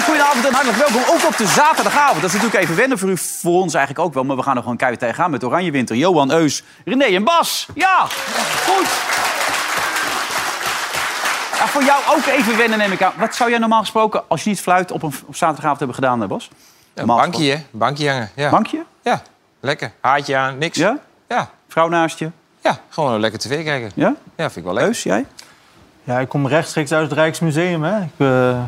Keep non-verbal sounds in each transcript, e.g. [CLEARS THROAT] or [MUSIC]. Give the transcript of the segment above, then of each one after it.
Goedenavond en hartelijk welkom. Ook op de zaterdagavond. Dat is natuurlijk even wennen voor u, voor ons eigenlijk ook wel. Maar we gaan er gewoon keihard tegenaan met Oranje Winter. Johan, Eus, René en Bas. Ja, goed. Ja, voor jou ook even wennen, neem ik aan. Wat zou jij normaal gesproken, als je niet fluit, op een op zaterdagavond hebben gedaan, hè, Bas? Ja, Normaal bankje, hè? Bankje hangen. Ja. gesproken. Bankje? Ja, lekker. Haartje aan, niks. Ja? Ja, Vrouw naast je? Ja, gewoon lekker tv kijken. Ja, Ja? vind ik wel leuk. Eus, jij? Ja, ik kom rechtstreeks uit het Rijksmuseum. Hè. Ik, eh,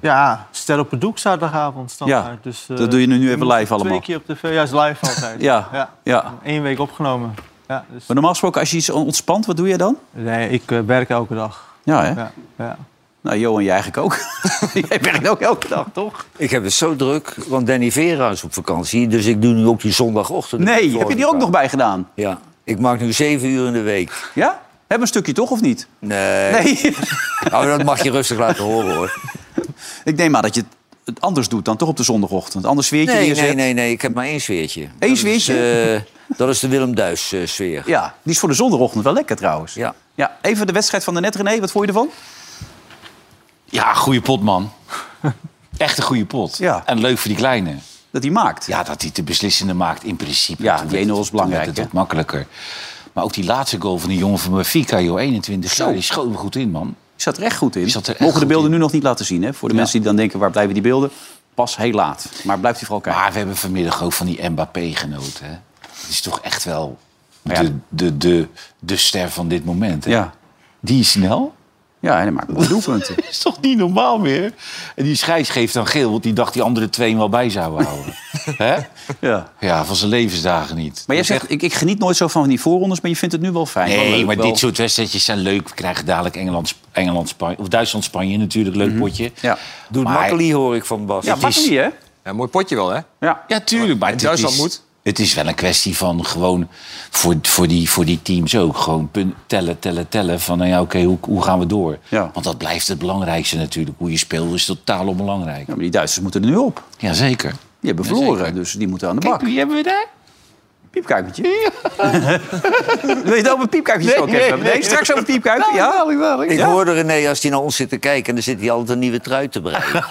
ja, stel op het doek zaterdagavond standaard. Ja, dus, eh, dat doe je nu even ik moet live allemaal. Twee keer op tv, juist live [LAUGHS] altijd. Ja. Ja. Eén week opgenomen. Ja, dus, Maar normaal gesproken, als je iets ontspant, wat doe je dan? nee, ik eh, werk elke dag. Ja, hè? Ja, ja. Nou, Johan, jij eigenlijk ook. [LAUGHS] jij werkt ook elke dag, toch? Ik heb het zo druk, want Danny Vera is op vakantie. Dus ik doe nu ook die zondagochtend. Nee, heb je die ook nog bij gedaan? Ja, ik maak nu zeven uur in de week. Ja? Heb een stukje toch, of niet? Nee. Nee. [LAUGHS] Nou, dat mag je rustig laten horen, hoor. Ik neem aan dat je het anders doet dan toch op de zondagochtend. Anders sfeertje Nee, neerzet. nee, nee, nee. Ik heb maar één sfeertje. Dat is, sfeertje? eh, dat is de Willem eh, Duis-sfeer. Ja, die is voor de zondagochtend wel lekker trouwens. Ja. ja. Even de wedstrijd van de net, René. Wat vond je ervan? Ja, goede pot, [LAUGHS] man. Echt een goede pot. Ja. En leuk voor die kleine. Dat hij maakt. Ja, dat hij de beslissende maakt in principe. Ja, Toen die werd 1-0 het- is belangrijk, Toen werd hè? het wat makkelijker. Maar ook die laatste goal van die jongen van Benfica, joh, 21 Zo. jaar. Die schoot me goed in, man. Die zat er echt goed in. Die zat er echt Mogen de goed beelden in. nu nog niet laten zien. Hè? Voor de mensen die dan denken, waar blijven die beelden? Pas heel laat. Maar blijft u vooral kijken. Maar we hebben vanmiddag ook van die Mbappé genoten. Hè? Dat is toch echt wel Ja. de, de, de, de ster van dit moment. Hè? Ja. Die is snel. Ja, en hij maakt [LAUGHS] mooie doelpunten. Dat is toch niet normaal meer? En die scheids geeft dan geel, want die dacht die andere twee hem wel bij zouden [LAUGHS] houden. Hè? ja. Ja, van zijn levensdagen niet. Maar jij zegt, ik, ik geniet nooit zo van die voorrondes, maar je vindt het nu wel fijn. Nee, Wel leuk, maar wel- dit soort wedstrijdjes zijn leuk. We krijgen dadelijk Engeland, Engeland Spanje, of Duitsland, Spanje natuurlijk, leuk potje. Mhm. Ja. Doet Maar- makkelijk, hoor ik van Bas. Ja, Het is- makkelijk hè? Ja, mooi potje wel, hè? Ja. Ja, tuurlijk. Maar En het Duitsland is, moet? Het is wel een kwestie van gewoon voor, voor, die, voor die teams ook. Gewoon punt, tellen, tellen, tellen. Van nou ja, oké, hoe, hoe gaan we door? Ja. Want dat blijft het belangrijkste natuurlijk. Hoe je speelt is totaal onbelangrijk. Ja, maar die Duitsers moeten er nu op. Jazeker. Die hebben Ja, verloren, zeker. dus die moeten aan de bak. Kijk, wie hebben we daar? Piepkuikentje. [LAUGHS] Wil je het over piepkuikentjes ook nee, Nou, hebben? Nee, straks over piepkuikentje. Ja, Ik Ja. hoorde René, als hij naar ons zit te kijken... en dan zit hij altijd een nieuwe trui te breien.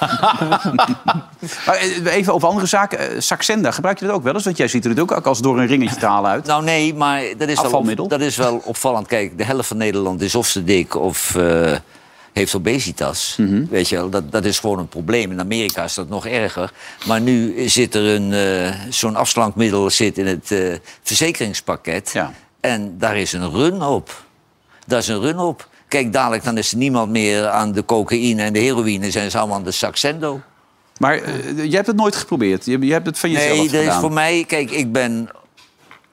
Maar eh, even over andere zaken. Eh, Saxenda, gebruik je dat ook wel eens? Want jij ziet er natuurlijk ook als door een ringetje taal uit. Nou nee, maar dat is, wel, Afvalmiddel? op- dat is wel opvallend. Kijk, de helft van Nederland is of te dik of eh, heeft obesitas. Mhm. Weet je wel, dat, dat is gewoon een probleem. In Amerika is dat nog erger. Maar nu zit er een, eh, zo'n afslankmiddel zit in het eh, verzekeringspakket. Ja. En daar is een run op. Daar is een run op. Kijk, dadelijk dan is er niemand meer aan de cocaïne en de heroïne. Zijn ze allemaal aan de Saxendo. Maar eh, jij hebt het nooit geprobeerd. Je, je hebt het van jezelf Nee, dat is gedaan. voor mij... Kijk, ik ben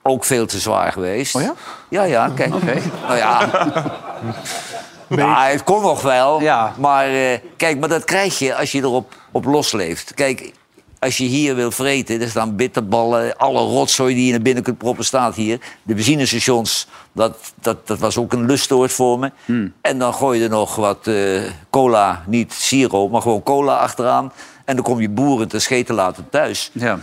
ook veel te zwaar geweest. Oh ja? Ja, ja, kijk. [LAUGHS] Nou ja. Ja, het kon nog wel. Ja. Maar eh, kijk, maar dat krijg je als je erop op losleeft. Kijk, als je hier wil vreten, er staan bitterballen... alle rotzooi die je naar binnen kunt proppen staat hier. De benzinestations, dat, dat, dat was ook een lustoord voor me. Hmm. En dan gooi je er nog wat eh, cola, niet siro, maar gewoon cola achteraan... En dan kom je boeren te scheten later [LAUGHS] thuis. Ja.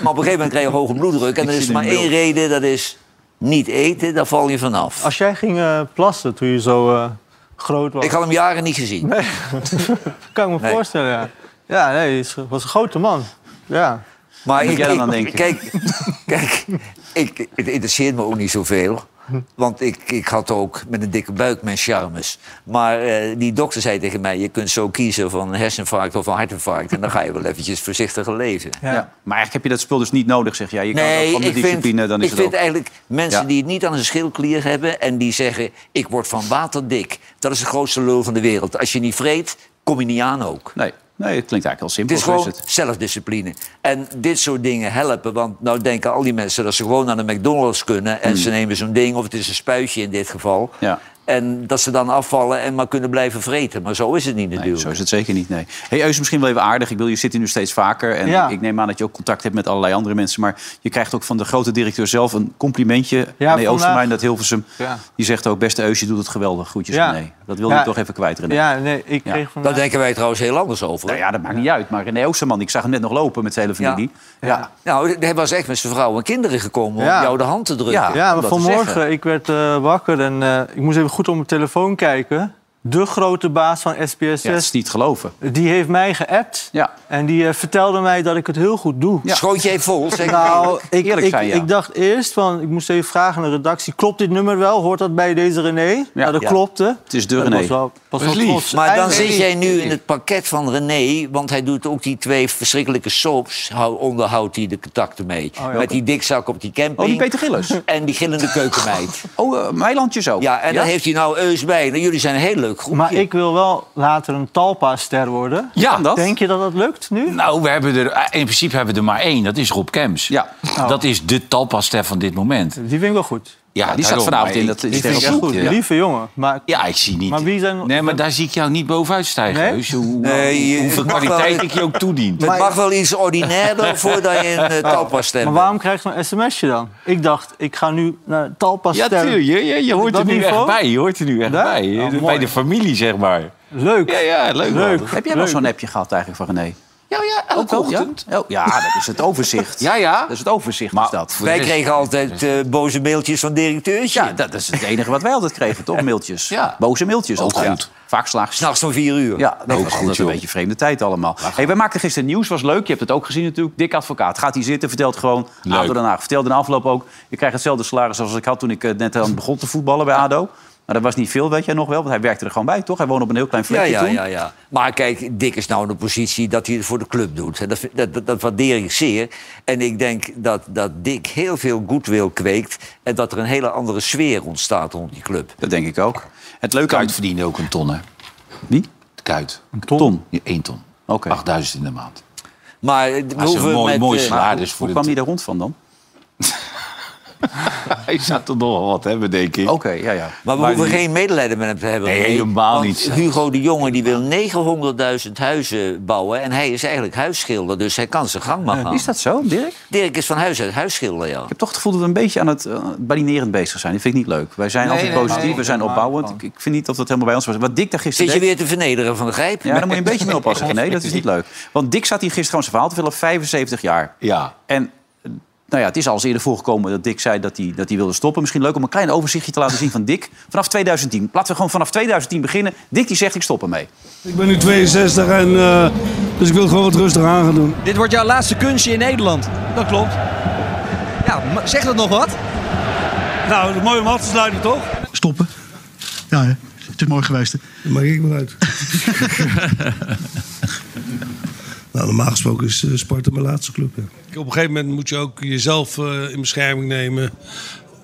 Maar op een gegeven moment krijg je hoge bloeddruk. En er is zie maar de één beeld. reden, dat is niet eten, daar val je vanaf. Als jij ging eh, plassen toen je zo eh, groot was, Ik had hem jaren niet gezien. kan ik me Nee. voorstellen. Ja, ja nee, hij is- was een grote man. Ja. Maar Moet ik, jij dan ik- aan denken? Kijk, [LAUGHS] kijk ik, het interesseert me ook niet zoveel. Want ik, ik had ook met een dikke buik mijn charmes. Maar eh, die dokter zei tegen mij... je kunt zo kiezen van een herseninfarct of een hartinfarct... en dan ga je wel eventjes voorzichtiger leven. Ja. Maar eigenlijk heb je dat spul dus niet nodig, zeg jij. Je kan het ook Nee, van de ik discipline, vind, dan is ik het ook... vind eigenlijk mensen Ja. die het niet aan hun schildklier hebben... en die zeggen, ik word van water dik. Dat is de grootste lul van de wereld. Als je niet vreet, kom je niet aan ook. Nee. nee, het klinkt eigenlijk heel Het simpel. is zo Dus gewoon het. zelfdiscipline. En dit soort dingen helpen. Want nou denken al die mensen dat ze gewoon naar de McDonald's kunnen... en ze nemen zo'n ding, of het is een spuitje in dit geval... Hmm. Ja. en dat ze dan afvallen en maar kunnen blijven vreten. Maar zo is het niet Nee, natuurlijk. zo is het zeker niet, nee. Hey, Eus, misschien wel even aardig. Ik wil, je zit hier nu steeds vaker. En Ja. ik, ik neem aan dat je ook contact hebt met allerlei andere mensen. Maar je krijgt ook van de grote directeur zelf een complimentje. Ja, nee, vandaag- Oostermijn, dat Hilversum. Ja. Die zegt ook, beste Eus, je doet het geweldig. Groetjes, Ja. nee. Dat wilde Ja. je toch even kwijt, René. Ja, nee, ik Ja. kreeg van Daar denken wij trouwens heel anders over. Nou ja, dat maakt niet uit. Maar René Oosterman, ik zag hem net nog lopen met zijn hele familie. Ja. Nou, hij was echt met zijn vrouw en kinderen gekomen Ja. om jou de hand te drukken. Ja. Ja, om maar dat te zeggen. vanmorgen, ik werd eh, wakker en eh, ik moest even goed op mijn telefoon kijken. de grote baas van SBS6, Ja, het is niet geloven. die heeft mij geappt. Ja. En die eh, vertelde mij dat ik het heel goed doe. Ja. Schoot jij vol? Zeg Nou, ik, Eerlijk ik, zijn, ja. ik dacht eerst, van, ik moest even vragen aan de redactie... klopt dit nummer wel? Hoort dat bij deze René? Ja, dat Ja. klopte. Het is de Dat René. was wel- was wel lief. trots. Maar dan Eindelijk- zit jij nu in het pakket van René, want hij doet ook die twee verschrikkelijke soaps, hou- onderhoudt hij de contacten mee. Met die dikzak op die camping. Oh, die Peter [LAUGHS] Gillis. En die gillende keukenmeid. Oh, eh, Meilandjes ook. Ja, en daar heeft hij nou Eus bij. Nou, jullie zijn een heel leuk groepje. Maar ik wil wel later een Talpa-ster worden. Ja, dat. Denk je dat dat lukt nu? Nou, we hebben er, eh, in principe hebben we er maar één. Dat is Rob Kems. Ja. Dat is de talpaster van dit moment. Die vind ik wel goed. Ja, die staat daarom, vanavond maar in ik- dat ik is vind echt het Heel goed, goed, ja. lieve jongen. Maar Ja, ik zie niet. Maar wie zijn- Nee, maar daar zie ik jou niet bovenuit stijgen. Nee? Heus, hoe, Nee, je- hoeveel het mag kwaliteit wel- ik je ook toedien. Het mag wel iets ordinairder voordat je een uh, talpa stemt. Maar waarom krijg je zo'n sms'je dan? Ik dacht, ik ga nu naar Talpa Ja, stemmen. tuurlijk. Je, je, je hoort Dat er nu echt niveau? bij. Je hoort er nu echt Ja? bij. Nou, Oh, bij mooi. de familie, zeg maar. Leuk. Ja, ja, leuk. Leuk. man. Heb jij wel zo'n appje gehad eigenlijk van René? Ja, ja, Ook elke wel, ja? ochtend. Oh, ja, dat is het [LAUGHS] overzicht. Ja, ja. Dat is het overzicht, Maar is dat. voor de Wij rest- kregen altijd eh, boze mailtjes van directeurs. Ja, dat is het enige wat wij altijd kregen, toch? Mailtjes. Ja. Boze mailtjes. Ook altijd. goed. Vaak slaag. S'nachts om vier uur. Ja, dat Ook was goed, altijd een joh. beetje vreemde tijd allemaal. Hey, wij maakten gisteren nieuws, was leuk. Je hebt het ook gezien natuurlijk. Dik advocaat. Gaat hij zitten, vertelt gewoon. Leuk. ADO Den Haag vertelde in de afloop ook. Je krijgt hetzelfde salaris als ik had toen ik eh, net aan begon te voetballen bij ADO. Maar dat was niet veel, weet jij nog wel. Want hij werkte er gewoon bij, toch? Hij woonde op een heel klein Ja, vlekje ja, toen. ja, ja. Maar kijk, Dick is nou in de positie dat hij het voor de club doet. En dat, vind- dat, dat, dat waardeer ik zeer. En ik denk dat, dat Dick heel veel goodwill kweekt... en dat er een hele andere sfeer ontstaat rond die club. Dat denk ik ook. Het leuke aan... Kuit verdiende ook een ton, hè? Wie? De Kuit. Ton. Ja, één ton. Oké. 8000 in de maand. [LAUGHS] Maar eh, we Dat is een hoeven mooi, met... mooi eh, salaris voor Hoe de kwam hij daar rond van dan? Hij zou toch nog wel wat hebben, denk ik. Oké, ja, ja. maar we hoeven geen medelijden met hem te hebben. Nee, René. helemaal Want niet. Hugo de Jonge die wil 900.000 huizen bouwen... en hij is eigenlijk huisschilder, dus hij kan zijn gang maar gaan. Is dat zo, Dirk? Dirk is van huis uit huisschilder, ja. Ik heb toch het gevoel dat we een beetje aan het eh, badinerend bezig zijn. Dat vind ik niet leuk. Wij zijn altijd nee, positief, nee. we zijn opbouwend. Ik, ik vind niet dat dat helemaal bij ons was. Wat Dick daar gisteren Zit je deed- weer te vernederen van de grijp? Ja, daar moet je een beetje mee oppassen. Nee, dat is niet leuk. Want Dick zat hier gisteren gewoon zijn verhaal te vertellen, 75 jaar. Ja. En eh, nou ja, het is al eens eerder voorgekomen dat Dick zei dat hij, dat hij wilde stoppen. Misschien leuk om een klein overzichtje te laten zien van Dick. Vanaf 2010. Laten we gewoon vanaf 2010 beginnen. Dick die zegt ik stop ermee. Ik ben nu 62 en eh, dus ik wil gewoon wat rustig aan gaan doen. Dit wordt jouw laatste kunstje in Nederland. Dat klopt. Ja, ma- zegt dat nog wat? Nou, dat is mooi om af te sluiten toch? stoppen. Ja, hè. het is mooi geweest. hè. Dan mag ik maar uit. nou, normaal gesproken is eh, Sparta mijn laatste club. Ja. Op een gegeven moment moet je ook jezelf eh, in bescherming nemen.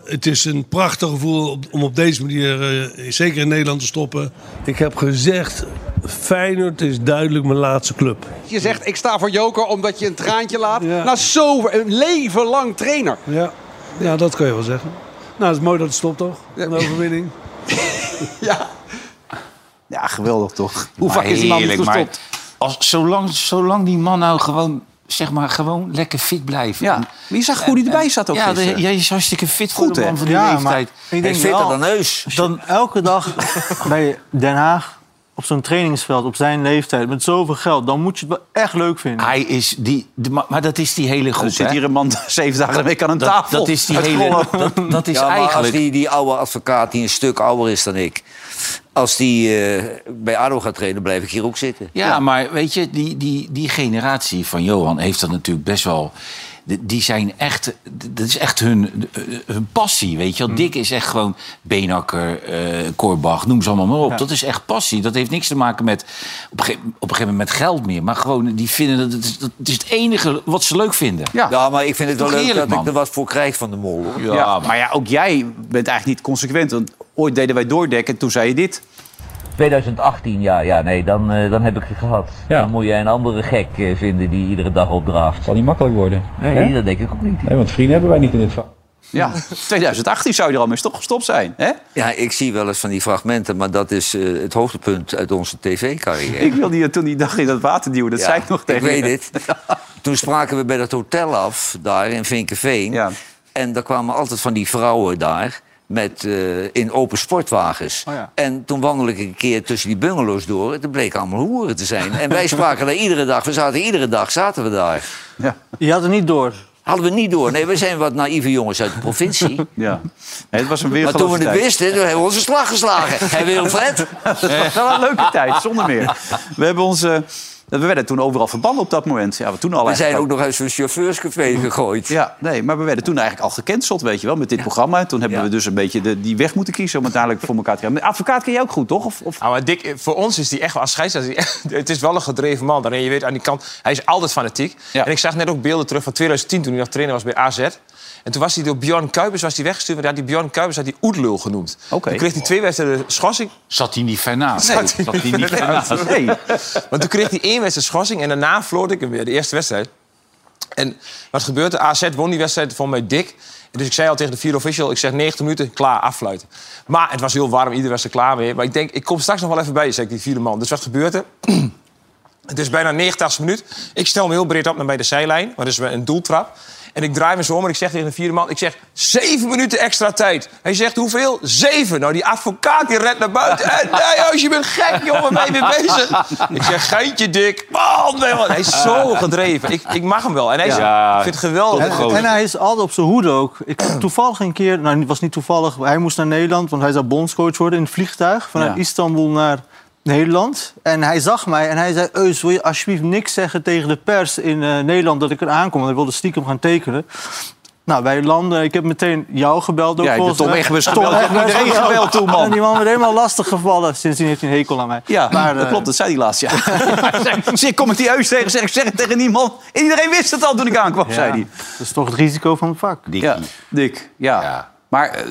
Het is een prachtig gevoel op- om op deze manier, eh, zeker in Nederland, te stoppen. Ik heb gezegd, Feyenoord is duidelijk mijn laatste club. Je zegt ik sta voor Joker omdat je een traantje laat. Ja. Na zo een leven lang trainer. Ja, ja dat kun je wel zeggen. Nou, het is mooi dat het stopt toch? Een overwinning. Ja. Ja, geweldig toch? Hoe vaak Maar is die man niet heerlijk, gestopt? maar Als, zolang, zolang die man nou gewoon, zeg maar, gewoon lekker fit blijft. Ja, En- maar je zag hoe die erbij zat ook ja, de- gisteren. jij is hartstikke fit voor Goed, de hè? man van die Ja, leeftijd. maar ik Hij denk is fitter wel- dan Heus. dan elke dag bij Den Haag op zo'n trainingsveld op zijn leeftijd met zoveel geld, dan moet je het wel echt leuk vinden. Hij is die, de- maar, maar dat is die hele groep, Er zit hè? hier een man [LAUGHS] zeven dagen de week aan een dat, tafel. dat is die Uit hele... Grollo. Dat, dat is ja, maar eigenlijk... als die, die oude advocaat die een stuk ouder is dan ik... als die eh, bij ADO gaat trainen, blijf ik hier ook zitten. Ja, maar weet je, die, die, die generatie van Johan heeft dat natuurlijk best wel. die- Die zijn echt, dat is echt hun, eh, hun passie, weet Mm. je wel. Dick is echt gewoon Benakker, eh Korbach, noem ze allemaal maar op. Dat is echt passie. Dat heeft niks te maken met op een gege- op een gegeven moment met geld meer. Maar gewoon, die vinden dat, het is- dat is het enige wat ze leuk vinden. Ja. Ja, maar ik vind het wel Toch leuk eerlijk, dat man. ik er wat voor krijg van de mol. hoor. Ja, maar ja, ook jij bent eigenlijk niet consequent. Want ooit deden wij doordekken en toen zei je dit. 2018, ja, ja nee, dan, eh, dan heb ik het gehad. Dan moet jij een andere gek eh, vinden die iedere dag opdraaft. Zal niet makkelijk worden. Nee, dat denk ik ook niet. Ja, [LAUGHS] 2018 zou je er al mee stop- gestopt zijn. Hè? Ja, ik zie wel eens van die fragmenten, maar dat is eh, het hoogtepunt uit onze tv-carrière. Ik wilde je toen die dag in dat water duwen. Dat Ja, zei ik nog tegen Ik je. [LAUGHS] weet het. Toen spraken we bij dat hotel af, daar in Vinkenveen. Ja. En daar kwamen altijd van die vrouwen daar... Met, eh, in open sportwagens. Oh ja. En toen wandelde ik een keer tussen die bungalows door. Het bleek allemaal hoeren te zijn. En wij spraken daar iedere dag. We zaten iedere dag zaten we daar. Ja. Je had het niet door. Hadden we niet door. Nee, we zijn wat naïeve jongens uit de provincie. Ja. Nee, het was een maar toen we het weergeloze tijd. wisten, toen hebben we onze slag geslagen. Hé Wilfred? Wel een leuke tijd, zonder meer. We, hebben ons, eh, we werden toen overal verbannen op dat moment. Ja, we toen al We zijn eigenlijk ook nog uit zo'n chauffeurscafé gegooid. Ja, nee, maar we werden toen eigenlijk al gecanceld, weet je wel, met dit programma. Toen hebben we dus een beetje de, die weg moeten kiezen om uiteindelijk voor elkaar te gaan. Maar Advocaat ken je ook goed, toch? Of, of... Nou, maar Dick, voor ons is die echt wel als scheidsrechter. is die [LAUGHS] echt- Het is wel een gedreven man. Daarin, je weet aan die kant, hij is altijd fanatiek. En ik zag net ook beelden terug van 2010 toen hij nog trainer was bij AZ. En toen was hij door Bjorn Kuipers was hij weggestuurd. Want hij had die Bjorn Kuipers had hij Oedlul genoemd. Oké. Toen kreeg hij twee wedstrijden schorsing. Zat hij niet ver naast? Zat Zat hij [LAUGHS] niet ver naast? Nee. Want toen kreeg hij één wedstrijd schorsing en daarna verloor ik hem weer, de eerste wedstrijd. En wat gebeurt er? AZ won die wedstrijd van mij dik. En Dus ik zei al tegen de vier official, ik zeg 90 minuten, klaar, affluiten. Maar het was heel warm, iedereen was er klaar mee. Maar ik denk, ik kom straks nog wel even bij, zei ik die vierde man. Dus wat gebeurt er? Het is bijna 89 minuut. Ik stel me heel breed op naar bij de zijlijn, want dat is een doeltrap. En ik draai me zo om en ik zeg tegen de vierde man... ik zeg, zeven minuten extra tijd. Hij zegt, hoeveel? Zeven. Nou, die advocaat die redt naar buiten. En, [LAUGHS] nee, als je bent gek, jongen, ben je weer bezig? Ik zeg, geintje, dik. Man, nee, man. Hij is zo gedreven. Ik, ik mag hem wel. En hij is, Ja. ik vind het geweldig. En, en hij is altijd op zijn hoede ook. Ik, [CLEARS THROAT] toevallig een keer, nou het was niet toevallig, maar hij moest naar Nederland, want hij zou bondscoach worden in het vliegtuig vanuit Ja. Istanbul naar Nederland. En hij zag mij en hij zei: Eus, wil je alsjeblieft niks zeggen tegen de pers in eh, Nederland dat ik er aankom? Want hij wilde stiekem gaan tekenen. Nou, wij landen. Ik heb meteen jou gebeld. Ook Ja, ik heb volgens Tom mij. Egbers gebeld. Ik heb Egbers iedereen gebeld toen, man. En die man werd helemaal lastig gevallen. Sindsdien heeft hij een hekel aan mij. Ja, Maar, dat eh, klopt, dat zei hij [LAUGHS] laatst, ja. Hij zei, Zie, ik kom ik die heus tegen, zeg ik zeg het tegen niemand. En iedereen wist het al toen ik aankwam, ja, zei hij. Dat is toch het risico van het vak. Dikkie. Ja, Dick, ja. Ja. Maar eh,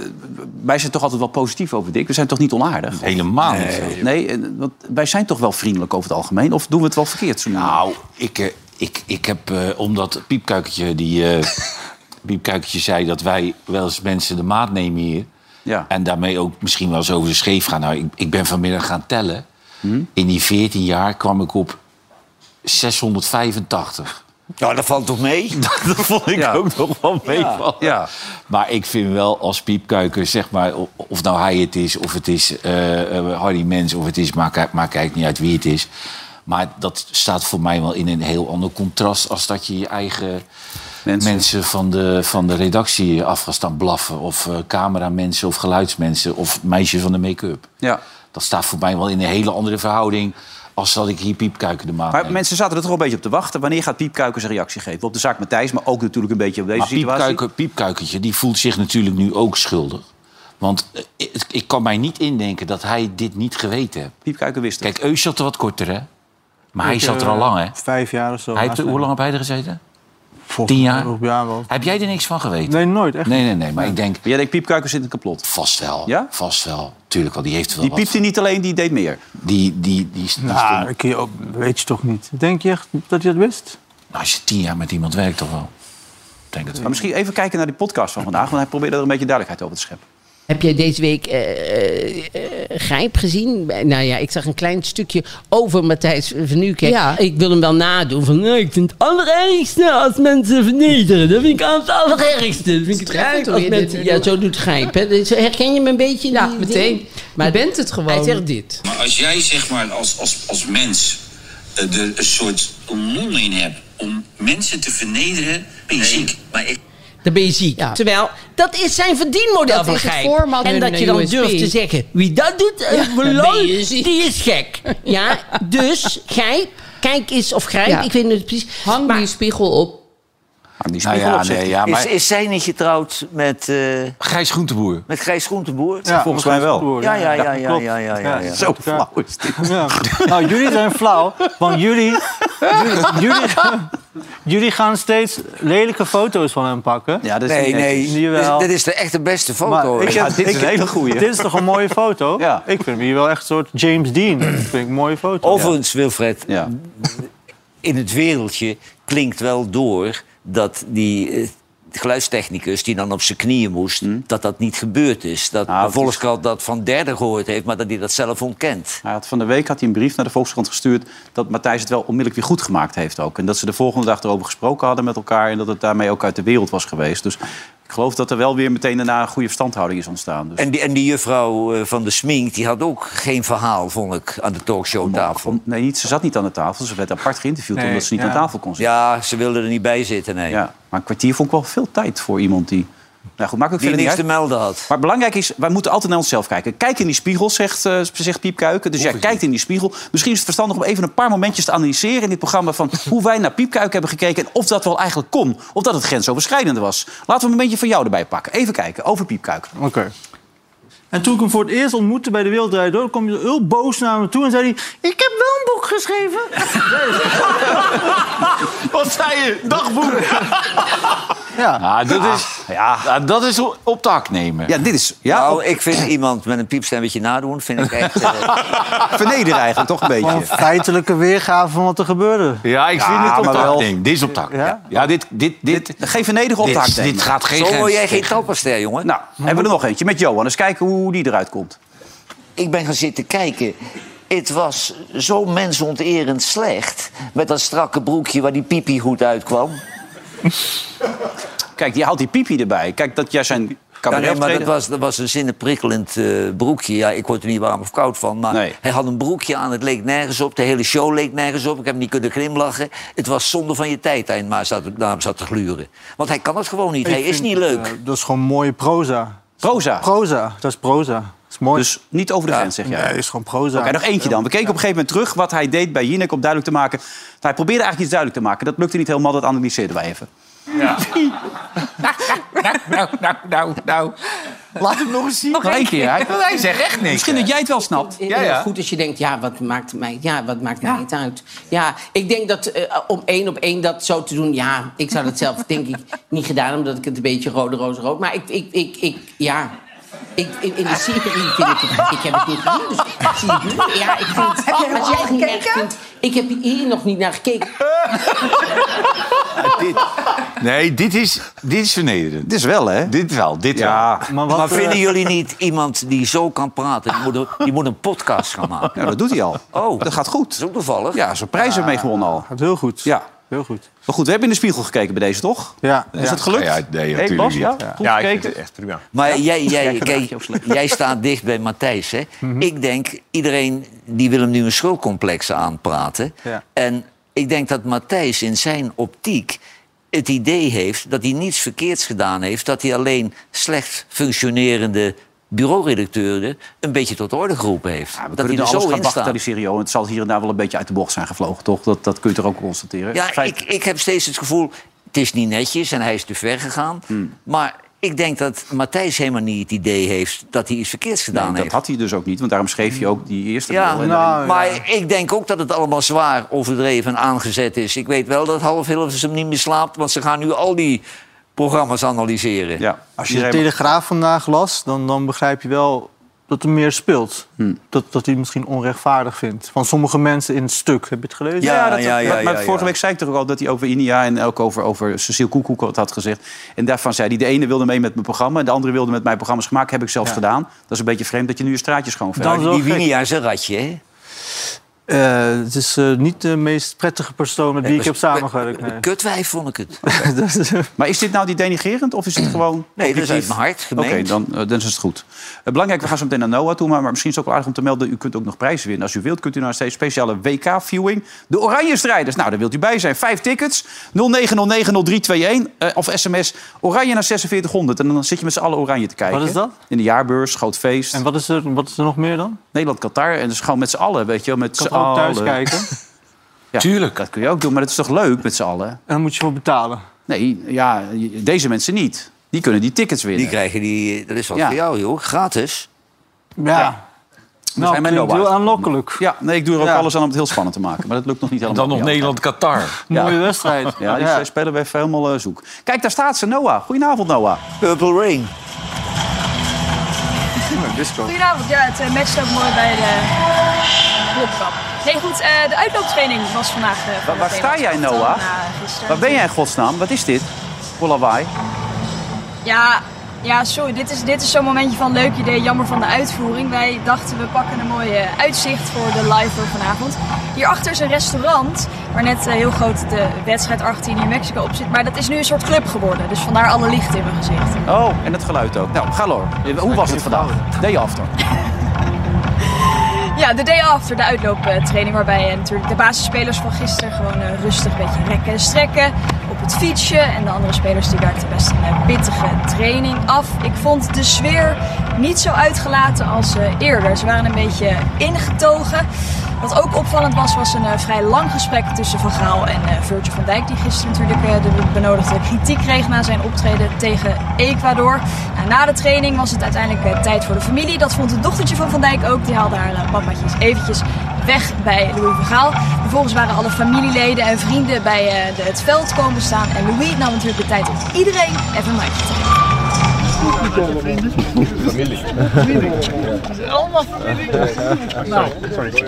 wij zijn toch altijd wel positief over Dick? We zijn toch niet onaardig? Helemaal niet. Nee, eh, want wij zijn toch wel vriendelijk over het algemeen? Of doen we het wel verkeerd? Zo Nou, ik, eh, ik, ik heb, eh, omdat Piepkuikertje, die, [LAUGHS] eh Piepkuikertje zei dat wij wel eens mensen de maat nemen hier. Ja. En daarmee ook misschien wel eens over de scheef gaan. Nou, ik, ik ben vanmiddag gaan tellen. Hm? In die 14 jaar kwam ik op 685. Nou, dat valt toch mee? Dat vond ik Ja. ook nog wel meevallen. Ja. Maar ik vind wel als piepkuiker, zeg maar, o- of nou hij het is, of het is eh, eh, Harry Mens, of het is, maakt uit- maakt eigenlijk niet uit wie het is. Maar dat staat voor mij wel in een heel ander contrast als dat je je eigen Mensen. mensen, van, de, van de redactie af gaat staan blaffen. Of eh, cameramensen of geluidsmensen of meisjes van de make-up. Ja. Dat staat voor mij wel in een hele andere verhouding als dat ik hier piepkuiker de maand Maar mensen zaten er toch een beetje op te wachten. Wanneer gaat Piepkuiker zijn reactie geven? Op de zaak Matthijs, maar ook natuurlijk een beetje op deze Maar situatie. Piepkuiker, Piepkuikertje die voelt zich natuurlijk nu ook schuldig. Want eh, ik, ik kan mij niet indenken dat hij dit niet geweten heeft. Piepkuiker wist het. Kijk, Eus zat er wat korter, hè? Maar hij Ik, zat er al eh, lang, hè? Vijf jaar of zo. Hij heeft, naast hoe mij. lang heb hij er gezeten? Volgens tien mij jaar? ook, Ja, wel. Heb jij er niks van geweten? Nee, nooit. Echt nee, nee, nee, Maar ik denk, Jij denkt, Piepkuiker zit in het kapot. vast wel. Ja? Vast wel. Tuurlijk wel, die heeft wel Die wat. piepte niet alleen, die deed meer. Die, die, die, die, die Nou, dat kun je ook- weet je toch niet? Denk je echt dat je dat wist? Nou, als je tien jaar met iemand werkt, toch wel? Ik Denk het wel. Maar misschien even kijken naar die podcast van vandaag. Want hij probeerde er een beetje duidelijkheid over te scheppen. Heb jij deze week eh, eh, eh, Grijp gezien? Eh, Nou ja, ik zag een klein stukje over Matthijs van Nieuwkerk. Ik wil hem wel nadoen van... nee, ik vind het allerergste als mensen vernederen. Dat vind ik het allerergste. Dat vind ik het erg als mensen... Ja, zo doet Grijp. Hè. Dus Herken je me een beetje? Ja, meteen. Maar je bent het gewoon. Hij zegt dit. Maar als jij zeg maar als, als, als mens eh, er een soort lol in hebt om mensen te vernederen, ben je ziek. Maar ik... Dan ben je ziek. Terwijl, dat is zijn verdienmodel Dat van is het Gijp. format en van dat de je dan USB. durft te zeggen, wie dat doet, eh, voor dan lol, ben je ziek. die is gek. Ja, dus Gijp, kijk eens of Grijp, Ja. ik weet niet precies. Hang die spiegel op. Maar Ah, die Nou spiegel ja, op, zegt nee, hij. ja, maar Is, is zij niet getrouwd met, eh, Gijs Groenteboer. met Gijs Groenteboer? volgens mij wel. Ja, ja, ja, ja, klopt. ja, ja, ja, ja. Zo flauw is dit. Ja. Nou, jullie zijn flauw, want jullie, jullie, jullie, jullie gaan steeds lelijke foto's van hem pakken. Ja, dat is Nee, niet nee. netjes. Dit is, Jawel. dit is de echte beste Maar foto. ik hè? Ja, dit is een hele goeie. Dit is toch een mooie foto? Ja. Ik vind hier wel echt een soort James Dean. Dat vind ik een mooie foto. Overigens, Wilfred, Ja. in het wereldje klinkt wel door dat die eh, geluidstechnicus die dan op zijn knieën moest, dat dat niet gebeurd is. Dat Hmm. Ah, de Volkskrant dat van derden gehoord heeft, maar dat hij dat zelf ontkent. Hij had van de week had hij een brief naar de Volkskrant gestuurd... dat Matthijs het wel onmiddellijk weer goed gemaakt heeft ook. En dat ze de volgende dag erover gesproken hadden met elkaar... en dat het daarmee ook uit de wereld was geweest. Dus Ik geloof dat er wel weer meteen daarna een goede verstandhouding is ontstaan. Dus. En die, en die juffrouw eh, van de Smink, die had ook geen verhaal, vond ik, aan de talkshowtafel. nee, niet, ze zat niet aan de tafel. dus Ze werd apart geïnterviewd Nee, omdat ze niet ja. aan tafel kon zitten. Ja, ze wilde er niet bij zitten, nee. Ja, maar een kwartier vond ik wel veel tijd voor iemand die... Nou goed, maakt ook Die verder niks niet te uit. melden had. Maar belangrijk is, wij moeten altijd naar onszelf kijken. Kijk in die spiegel, zegt, eh, zegt Piep Kuiken. Dus jij kijkt in die spiegel. Misschien is het verstandig om even een paar momentjes te analyseren in dit programma... [LAUGHS] van hoe wij naar Piep Kuiken hebben gekeken en of dat wel eigenlijk kon. Of dat het grensoverschrijdend was. Laten we een momentje van jou erbij pakken. Even kijken, over Piep Kuiken. Oké. En toen ik hem voor het eerst ontmoette bij de Wereld Draait Door... kwam hij heel boos naar me toe en zei hij... Ik heb wel een boek geschreven. [LAUGHS] Wat zei je? Dagboek. Ja. Ah, dat, is, Ah, ja. dat is op tak nemen. Ja, dit is... Ja, nou, ik vind iemand met een piepstemmetje nadoen, vind [LAUGHS] ik echt... eh, Vernederen eigenlijk, [LAUGHS] toch een beetje. Nou. Gewoon een feitelijke weergave van wat er gebeurde. Ja, ik vind het op maar tak wel. nemen. Dit is op tak. Ja, ja dit, dit, dit, Geen vernedigen op Dit- taak nemen. dit gaat geen Zo word grens jij geen tegen. tapperster, jongen. Nou, hebben we er nog eentje met Johan. Eens kijken hoe die eruit komt. ik ben gaan zitten kijken. Het was zo mensonterend slecht. Met dat strakke broekje waar die piepiehoed uitkwam. Kijk, die haalt die piepie erbij. Kijk, dat jij zijn Ja, nee, cabaret maar dat was, dat was een zinnenprikkelend eh, broekje. Ja, ik word er niet warm of koud van. Maar hij had een broekje aan, het leek nergens op. De hele show leek nergens op. Ik heb hem niet kunnen glimlachen. Het was zonde van je tijd, hij maar zat, naar hem zat te gluren. Want hij kan het gewoon niet. Ik hij is vind, niet leuk. eh, dat is gewoon mooie proza. Proza? Proza, dat is proza. Dat is mooi. Dus niet over de grens, zeg jij? Nee, dat is gewoon proza. Oké, nog eentje dan. We keken op een gegeven moment terug wat hij deed bij Jinek om duidelijk te maken. Hij probeerde eigenlijk iets duidelijk te maken. Dat lukte niet helemaal, dat analyseerden wij even. Ja. nou, nou, nou, nou, nou. Laat hem nog eens zien. Nog één keer. Hij, hij zegt echt niks. Misschien dat jij het wel snapt. Ja, ja. Goed als je denkt, ja, wat maakt mij, ja, wat maakt mij het uit? Ja, ik denk dat eh, om één op één dat zo te doen... ja, ik zou dat zelf denk ik niet gedaan... omdat ik het een beetje rode, roze, rood... maar ik, ik, ik, ik ja... Ik, in, in de serie vind ik het... Ik heb het niet gezien, dus ik zie het nu. Ja, ik vind... Heb jij er als nog jij het niet naar erg vindt... Ik heb hier nog niet naar gekeken. Nee, dit is, dit is vernederend. Dit is wel, hè? Dit wel, dit Eh, wel. Maar, eh, vinden jullie niet iemand die zo kan praten? Die moet, een- die moet een podcast gaan maken. Nou, dat doet hij al. Oh, Dat gaat goed. dat is ook toevallig. Ja, zijn prijs heeft mee gewonnen al. Gaat heel goed. Ja. Heel goed. Maar goed, we hebben in de spiegel gekeken bij deze, toch? Ja. Is het gelukt? Ja, nee, Hey, natuurlijk Bas, niet. ja? Goed Ja, ik vind gekeken? het echt prima. Maar jij, jij, Kijk, kijk, jij staat dicht bij Matthijs. Hè? Mhm. Ik denk, iedereen die wil hem nu een schuldcomplex aanpraten. Ja. En ik denk dat Matthijs in zijn optiek het idee heeft dat hij niets verkeerds gedaan heeft. Dat hij alleen slecht functionerende bureauredacteuren een beetje tot orde geroepen heeft. We dat kunnen hij nu er alles zo gaan in staat. bagatelliseren, joh. Het zal hier en daar wel een beetje uit de bocht zijn gevlogen, toch? Dat, dat kun je toch ook constateren? Ja, Feit- ik, ik heb steeds het gevoel, het is niet netjes en hij is te ver gegaan. Hmm. Maar ik denk dat Matthijs helemaal niet het idee heeft dat hij iets verkeerds gedaan Nee, heeft. dat had hij dus ook niet, want daarom schreef je ook die eerste Ja, mail. En daarin- maar ik denk ook dat het allemaal zwaar overdreven en aangezet is. Ik weet wel dat half Hilversum hem niet meer slaapt, want ze gaan nu al die programma's analyseren. Ja, Als je de Telegraaf vandaag las, dan, dan begrijp je wel dat er meer speelt. Hm. Dat, dat hij het misschien onrechtvaardig vindt. Van sommige mensen in het stuk. Heb je het gelezen? Ja, dat, maar, maar vorige week zei ik toch ook al dat hij over Inia en ook over, over Cecile Koekoek wat had gezegd. En daarvan zei hij, de ene wilde mee met mijn programma... en de andere wilde met mijn programma's gemaakt. Heb ik zelfs gedaan. Dat is een beetje vreemd dat je nu je straatjes gewoon verhaalt. die Winia is een ratje, hè? Eh, het is eh, niet de meest prettige persoon met wie Eh, ik heb samengewerkt. Nee. Kutwijf vond ik het. Maar is dit nou die denigerend of is het gewoon... Nee, dat is objectief? uit mijn hart, Oké, gemeend. dan, eh, dan is het goed. Eh, belangrijk, we gaan zo meteen naar Noah toe. Maar, maar misschien is het ook wel aardig om te melden... u kunt ook nog prijzen winnen. Als u wilt, kunt u naar een speciale WK-viewing. De Oranje Strijders. Nou, daar wilt u bij zijn. Vijf tickets. 09090321. eh, of sms Oranje naar 4600. En dan zit je met z'n allen Oranje te kijken. Wat is dat? In de jaarbeurs, groot feest. En wat is, er, wat is er nog meer dan? Nederland-Qatar. En dat is gewoon met z'n allen, weet je wel. Met z'n Ik kan ook allen. thuis kijken. [LAUGHS] Ja, Tuurlijk. Dat kun je ook doen, maar dat is toch leuk met z'n allen? En dan moet je voor betalen. Nee, ja, deze mensen niet. Die kunnen die tickets winnen. Die krijgen die, dat is wat Ja. voor jou, joh. Gratis. [CLEARS THROAT] Ja. Nou, zijn bij klinkt Noah. heel aanlokkelijk. Ja, nee, ik doe er ook Ja. alles aan om het heel spannend te maken. Maar dat lukt nog niet helemaal. Dan nog Ja. Nederland-Qatar. Ja. Mooie wedstrijd. Ja, die Ja. spelen we even helemaal eh, zoek. Kijk, daar staat ze, Noah. Goedenavond, Noah. Purple Rain. Goedenavond, ja, het eh, matcht ook mooi bij de klopkap. Nee, goed, eh, de uitlooptraining was vandaag. eh, Waar, van waar de sta jij, Nederlandse Noah? elftal na eh, gisteren. Waar ben jij in godsnaam? Wat is dit? Voor lawaai. Ja, Ja, sorry, dit is, dit is zo'n momentje van leuk idee, jammer van de uitvoering. Wij dachten we pakken een mooi eh, uitzicht voor de live voor vanavond. Hierachter is een restaurant waar net eh, heel groot de wedstrijd Argentinië en Mexico op zit. Maar dat is nu een soort club geworden, dus vandaar alle licht in mijn gezicht. Oh, en het geluid ook. Nou, ga door. Hoe was het vandaag? Day after. Ja, de day after, de uitlooptraining, waarbij eh, natuurlijk de basisspelers van gisteren gewoon eh, rustig een beetje rekken en strekken op het fietsje. En de andere spelers die werkten best een eh, pittige training af. Ik vond de sfeer niet zo uitgelaten als eh, eerder. Ze waren een beetje ingetogen. Wat ook opvallend was, was een eh, vrij lang gesprek tussen Van Gaal en eh, Virgil van Dijk. Die gisteren natuurlijk eh, de benodigde kritiek kreeg na zijn optreden tegen Ecuador. Nou, na de training was het uiteindelijk eh, tijd voor de familie. Dat vond het dochtertje van Van Dijk ook. Die haalde haar eh, papatjes eventjes weg bij Louis van Gaal. Vervolgens waren alle familieleden en vrienden bij eh, de- het veld komen staan. En Louis nam natuurlijk de tijd om iedereen even een handje te geven. Familie. Allemaal familie. Nou, sorry.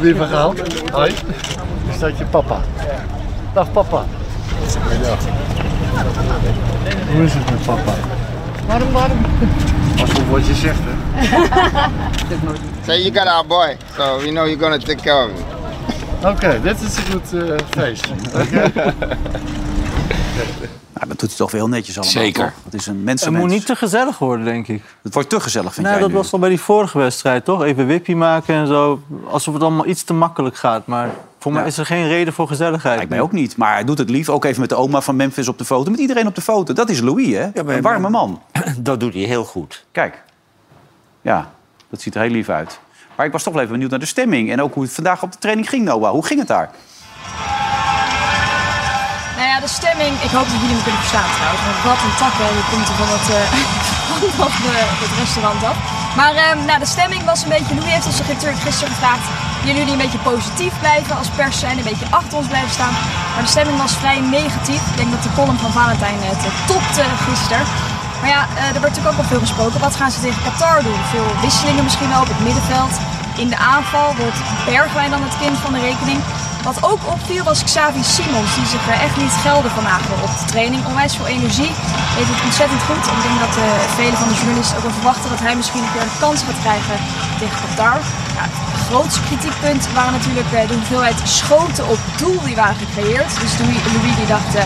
Wie verhaal? Hoi. Is dat je papa? Dag papa. Hoe is het met papa? Warm, warm. Als je wat je zegt, hè? so you got our boy, so we know you're gonna take care of him. Oké, dit is een goed eh, feest. Oké. Nou, dat doet hij toch wel heel netjes allemaal. Zeker. toch? Het is een mensen. Het moet niet te gezellig worden, denk ik. Het wordt te gezellig, vind nou, jij dat nu? was al bij die vorige wedstrijd, toch? Even wippie maken en zo. Alsof het allemaal iets te makkelijk gaat. Maar voor mij is er geen reden voor gezelligheid. Ik ben ook niet, maar hij doet het lief. Ook even met de oma van Memphis op de foto. Met iedereen op de foto. Dat is Louis, hè? een warme man. Dat doet hij heel goed. Kijk. Ja, dat ziet er heel lief uit. Maar ik was toch wel even benieuwd naar de stemming. En ook hoe het vandaag op de training ging, Noah. Hoe ging het daar? Nou ja, de stemming. Ik hoop dat jullie me kunnen verstaan trouwens. Want wat een takken. Dat komt er van het, eh, [LAUGHS] van dat, eh, het restaurant af. Maar ehm, nou, de stemming was een beetje... Louis heeft ons natuurlijk gisteren gevraagd... Willen jullie een beetje positief blijven als pers zijn? Een beetje achter ons blijven staan? Maar de stemming was vrij negatief. Ik denk dat de column van Valentijn het eh, topte gisteren. Maar ja, eh, er wordt natuurlijk ook al veel gesproken. Wat gaan ze tegen Qatar doen? Veel wisselingen misschien wel op het middenveld. In de aanval wordt Bergwijn dan het kind van de rekening. Wat ook opviel was Xavi Simons. Die zich eh, echt niet gelden vandaag op de training. Onwijs veel energie. Deed het ontzettend goed. Ik denk dat eh velen van de journalisten ook wel verwachten dat hij misschien een keer een kans gaat krijgen tegen Qatar. Ja, het grootste kritiekpunt waren natuurlijk eh, de hoeveelheid schoten op doel die waren gecreëerd. Dus Louis, Louis die dacht, eh,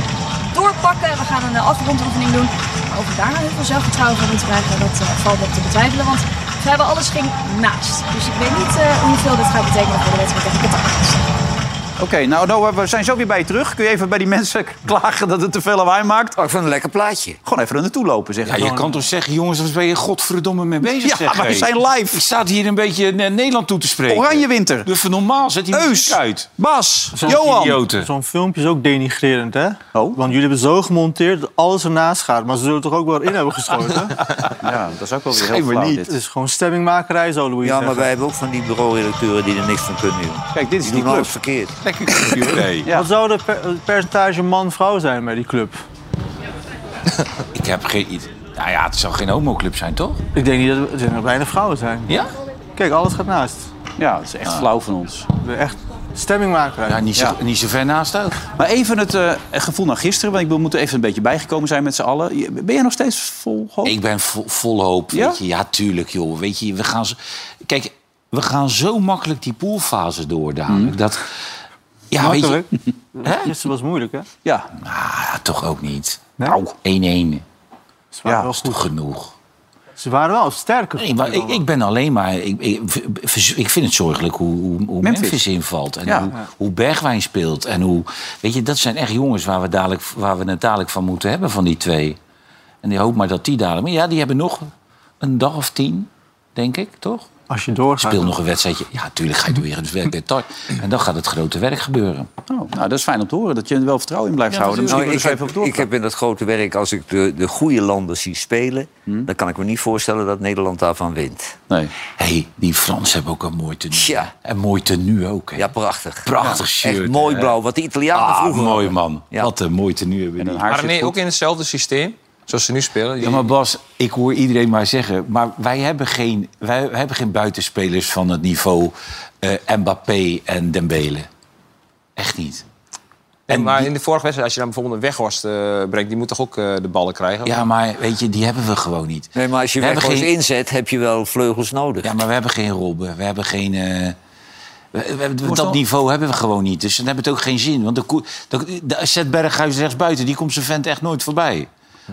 doorpakken. We gaan een eh, afrondoefening doen. Maar of we daar nou heel veel zelfvertrouwen van moeten krijgen, dat eh, valt nog te betwijfelen. Want vrijwel alles ging naast. Dus ik weet niet eh, hoeveel dit gaat betekenen voor de wedstrijd tegen Qatar. Oké, nou Noah, we zijn zo weer bij je terug. Kun je even bij die mensen [LAUGHS] klagen dat het te veel lawaai maakt? Oh, ik vond een lekker plaatje. Gewoon even er naartoe lopen, zeg. Ja, je kan toch zeggen, jongens, waar ben je godverdomme mee bezig? Ja, zeg, wij hé? zijn live. Ik sta hier een beetje naar Nederland toe te spreken. Oranje winter. Dus voor normaal zet hij muziek uit. Bas, Idioten. Zo'n filmpje is ook denigrerend, hè? Oh. Want jullie hebben zo gemonteerd dat alles ernaast gaat. Maar ze zullen toch ook wel in hebben [LAUGHS] geschoten? Ja, dat is ook wel weer heel Schijnbaar flauw, niet. dit. Het is gewoon stemmingmakerij zo, Louis. Ja, maar zeggen. wij hebben ook van die bureau-redacteuren die er niks van kunnen doen. Kijk, dit is die doen alles verkeerd. Wat zou de per- het percentage man-vrouw zijn bij die club? Ik heb geen... idee. Nou ja, het zou geen homoclub zijn, toch? Ik denk niet dat er- er zijn nog weinig vrouwen zijn. Ja? Kijk, alles gaat naast. Ja, dat is echt flauw van ons. Echt stemmingmakerij. Ja, niet zo, niet zo ver naast ook. Maar even het eh, gevoel naar gisteren. Want ik bedoel, we moeten even een beetje bijgekomen zijn met z'n allen. Je- Ben jij nog steeds vol hoop? Ik ben vol, vol hoop. Oh. Ja? Weet je. ja, tuurlijk, joh. Weet je, we gaan zo, kijk, we gaan zo makkelijk die poolfase door dadelijk. Dat, ja, Makkelijk. weet je. Gisteren was moeilijk, hè? Ja. Ah, toch ook niet. Nou, 1-1. Ah. Ja, dat is toch genoeg. Ze waren wel sterker. Nee, maar ik, ik ben alleen maar. Ik, ik, ik vind het zorgelijk hoe, hoe, hoe Memphis. Memphis. invalt. En Ja. hoe, Ja. hoe Bergwijn speelt. En hoe. Weet je, dat zijn echt jongens waar we, dadelijk, waar we het dadelijk van moeten hebben, van die twee. En ik hoop maar dat die dadelijk. Maar ja, die hebben nog een dag of tien, denk ik, toch? Als je doorgaat. Speel nog een wedstrijdje. Ja, tuurlijk ga je door. Dus werk detail. En dan gaat het grote werk gebeuren. Oh, nou, dat is fijn om te horen. Dat je er wel vertrouwen in blijft houden. Misschien Nou, ik, kunnen we er heb, zo even op ik heb in dat grote werk, als ik de, de goede landen zie spelen... Hm? dan kan ik me niet voorstellen dat Nederland daarvan wint. Nee. hey, die Fransen hebben ook een mooi tenue. Ja. En mooi tenue ook. Hè. Ja, prachtig. Prachtig Ja, shirt. Echt mooi hè. blauw, wat de Italianen ah, vroeger mooi hadden. man. Ja. Wat een mooi tenue hebben die. Maar nee, ook in hetzelfde systeem, zoals ze nu spelen. Die- Ja, maar Bas, ik hoor iedereen maar zeggen... maar wij hebben geen, wij, wij hebben geen buitenspelers van het niveau eh Mbappé en Dembele. Echt niet. En maar in de vorige wedstrijd, als je dan bijvoorbeeld een Weghorst eh, brengt... die moet toch ook eh, de ballen krijgen? Ja, maar weet je, die hebben we gewoon niet. Nee, maar als je We hebben Weghorst geen- inzet, heb je wel vleugels nodig. Ja, maar we hebben geen Robben. We hebben geen... eh, we- we hebben- Kost dat al- niveau hebben we gewoon niet. Dus dan hebben we het ook geen zin. Want de, ko- de, de zet Berghuis rechtsbuiten. Die komt zijn vent echt nooit voorbij.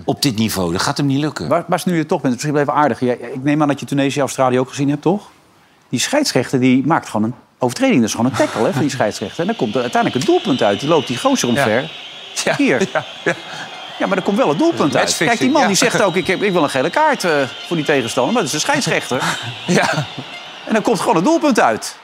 Op dit niveau. Dat gaat hem niet lukken. Waar, waar is nu je toch bent, misschien wel even aardig. Jij- ik neem aan dat je Tunesië-Australië ook gezien hebt, toch? Die scheidsrechter die maakt gewoon een overtreding. Dat is gewoon een tackle hè, van die scheidsrechter. En dan komt er uiteindelijk een doelpunt uit. Die loopt die gozer omver. Hier. Ja, maar er komt wel een doelpunt uit. Matchfixing, Kijk, die man ja. die zegt ook, ik, heb, ik wil een gele kaart eh, voor die tegenstander. Maar dat is een [LAUGHS] scheidsrechter. ja. En dan komt gewoon een doelpunt uit.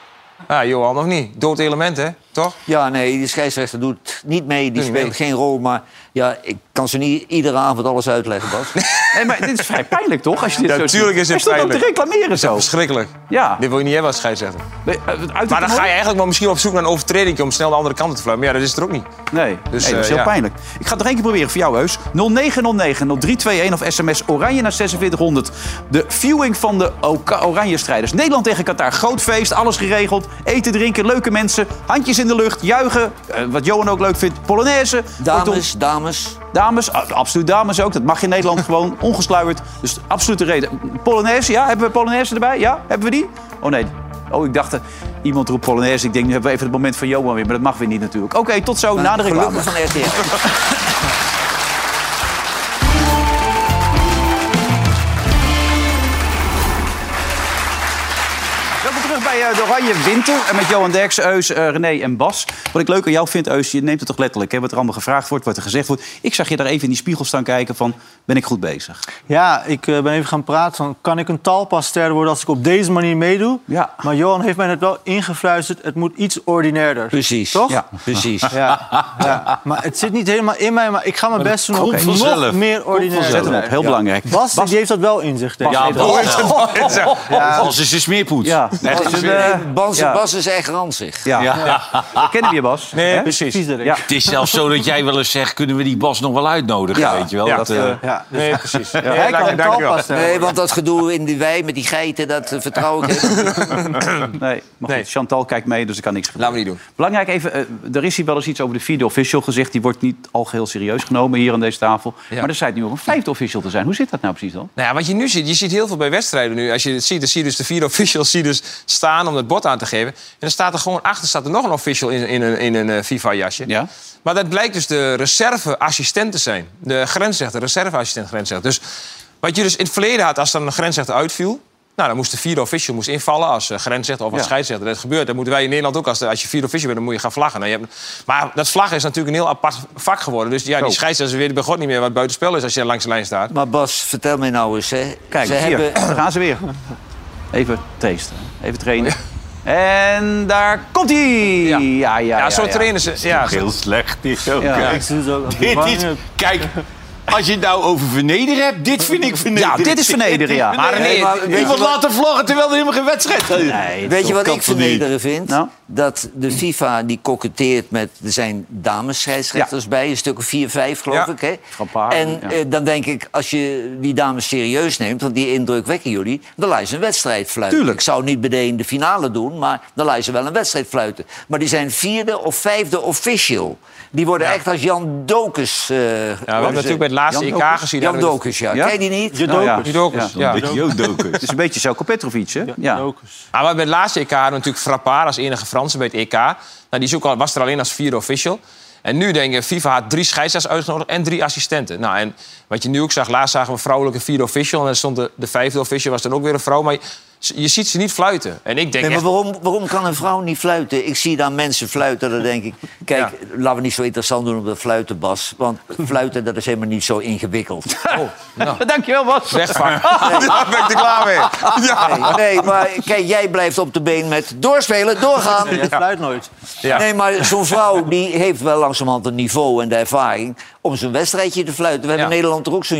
Ah, Johan, of niet? Dood element, hè? Toch? Ja, nee, de scheidsrechter doet niet mee. Die Doet niet speelt mee. geen rol. Maar ja, ik kan ze niet iedere avond alles uitleggen, Bas. Nee, maar dit is vrij pijnlijk, toch? Als je dit Ja, zo ziet. natuurlijk is Hij het staat ook te pijnlijk. reclameren Dat is zo. verschrikkelijk. Ja. Dit wil je niet hebben als scheidsrechter. maar dan toernooi? ga je eigenlijk wel misschien wel op zoek naar een overtreding... om snel de andere kant op te fluiten. Maar ja, dat is er ook niet. Nee, Dus, nee, dat is eh, heel ja. pijnlijk. Ik ga het nog één keer proberen voor jou, Heus. 0909-0321 of sms Oranje naar 4600. De viewing van de Oka- Oranje-strijders. Nederland tegen Qatar. Groot feest, alles geregeld. Eten, drinken, leuke mensen. Handjes in de lucht, juichen. Eh, wat Johan ook leuk vindt, Polonaise. Dames, dames. Dames, a- absoluut dames ook. Dat mag [LAUGHS] in Nederland gewoon, ongesluierd. Dus absolute reden. Polonaise, ja? Hebben we Polonaise erbij? Ja? Hebben we die? Oh nee. Oh, ik dacht, eh, iemand roept Polonaise. Ik denk, nu hebben we even het moment van Johan weer. Maar dat mag weer niet natuurlijk. Oké, tot zo, na de reclame. Gelukkig van RTL. Welkom terug bij eh, de Oranje Winter. En met Johan Derks, Eus, eh, René en Bas. Wat ik leuk aan jou vind, Eus, je neemt het toch letterlijk. Hè? Wat er allemaal gevraagd wordt, wat er gezegd wordt. Ik zag je daar even in die spiegel staan kijken van, ben ik goed bezig? Ja, ik eh, ben even gaan praten van... kan ik een talpaster worden als ik op deze manier meedoe? Ja. Maar Johan heeft mij net wel ingefluisterd... het moet iets ordinairder. Precies. Toch? Ja, precies. Ja. Ja. Maar het zit niet helemaal in mij, maar ik ga mijn Maar best doen dat om komt vanzelf. nog meer Komt ordinair te vanzelf. Zet hem op, zijn. heel belangrijk. Bas, die heeft dat wel in zich, denk ik. dus- Ja, Bas heeft het Nou, wel in zich. Ja. Bas is een smeerpoet. Ja. Echt een smeerpoet. Bas, Ja. Bas is echt ranzig. Ja. Ja. Kennen we je, Bas? Nee, Hè? precies. Ja. Het is zelfs zo dat jij wel eens zegt... kunnen we die Bas nog wel uitnodigen, Ja. weet je wel? Ja. dat, eh, Ja. Ja. Nee, precies. Ja. Hij kan een kalpas stellen. Nee, want dat gedoe in die wei met die geiten, dat eh, vertrouw [LAUGHS] ik helemaal niet. Nee, maar goed, Chantal kijkt mee, dus ik kan niks Nou. gebeuren. Laten we niet doen. Belangrijk even, eh, er is hier wel eens iets over de vierde official gezegd. Die wordt niet al geheel serieus genomen hier aan deze tafel. Maar er schijnt nu ook een vijfde official te zijn. Hoe zit dat nou precies dan? Nou ja, wat je nu ziet, je ziet heel veel bij wedstrijden nu. Als je het ziet, dan zie je dus de vier [LAUGHS] officials zie je dus staan om het bord aan te geven. En dan staat er gewoon achter staat er nog een official in, in een, in een eh, FIFA-jasje. Ja. Maar dat blijkt dus de reserveassistent te zijn. De grensrechter, reserveassistent grensrechter. Dus wat je dus in het verleden had, als dan een grensrechter uitviel... Nou, dan moest de vierde official moest invallen als eh, grensrechter of als Ja. scheidsrechter. Dat gebeurt. Dat moeten wij in Nederland ook. Als, de- als je vierde official bent, dan moet je gaan vlaggen. Nou, je hebt, maar dat vlaggen is natuurlijk een heel apart vak geworden. Dus ja, die Zo. scheidsrechter weet bij god niet meer wat buitenspel is... als je langs de lijn staat. Maar Bas, vertel mij nou eens. Hè. Kijk, Ze hier, [CLEARS THROAT] hebben- daar gaan ze weer. Even testen, even trainen. En daar komt hij! Ja, ja, ja. Ja, zo trainen ze. Ja, Heel slecht is ook. Ja. hè. Ik zie [LAUGHS] zo dat die dit wang is, hebt. kijk, als je het nou over vernederen hebt, dit vind ik vernederen. Ja, Ah, dit is vernederen, [LAUGHS] ja. Maar Maar nee, nee, maar weet je iemand wat- laten vloggen terwijl er helemaal geen wedstrijd is. Weet je wat ik vernederen? vernederen vind? Nou? Dat de FIFA die koketteert met... Er zijn dames-scheidsrechters bij, een stuk of vier, vijf geloof Ja. ik. Hè? Frappard, en ja. eh, dan denk ik, als je die dames serieus neemt... want die indruk wekken jullie, dan laat je ze een wedstrijd fluiten. Tuurlijk. Ik zou niet meteen de finale doen, maar dan laat je ze wel een wedstrijd fluiten. Maar die zijn vierde of vijfde official. Die worden echt als Jan Dokus... eh, Ja, we hebben natuurlijk bij het laatste Jan EK Dokus? gezien. Jan dat het- Dokus, ja. Ken je die niet? Nou ja. Jodokus, ja. Het is een beetje zo Petrovic, hè? Ja. Ah, maar bij het laatste EK hadden we natuurlijk Frappard als enige Franse bij het EK. Nou, die is ook al, was er alleen als vierde official. En nu denken, FIFA had drie scheidsrechters uitgenodigd en drie assistenten. Nou, en wat je nu ook zag, laatst zagen we een vrouwelijke vierde official. En dan stond de, de vijfde official, was dan ook weer een vrouw. Maar je, je ziet ze niet fluiten. En ik denk Nee, maar echt, waarom, waarom kan een vrouw niet fluiten? Ik zie daar mensen fluiten, dan denk ik... Kijk, laten we niet zo interessant doen op dat fluiten, Bas. Want fluiten, dat is helemaal niet zo ingewikkeld. Dankjewel, Bas. Wegvak. Daar ben ik er klaar mee. [LAUGHS] Ja. Nee, nee, maar kijk, jij blijft op de been met doorspelen, doorgaan. Nee, dat fluit nooit. Ja. Nee, maar zo'n vrouw die heeft wel langzamerhand het niveau en de ervaring... om zo'n wedstrijdje te fluiten. We hebben in Nederland toch ook zo'n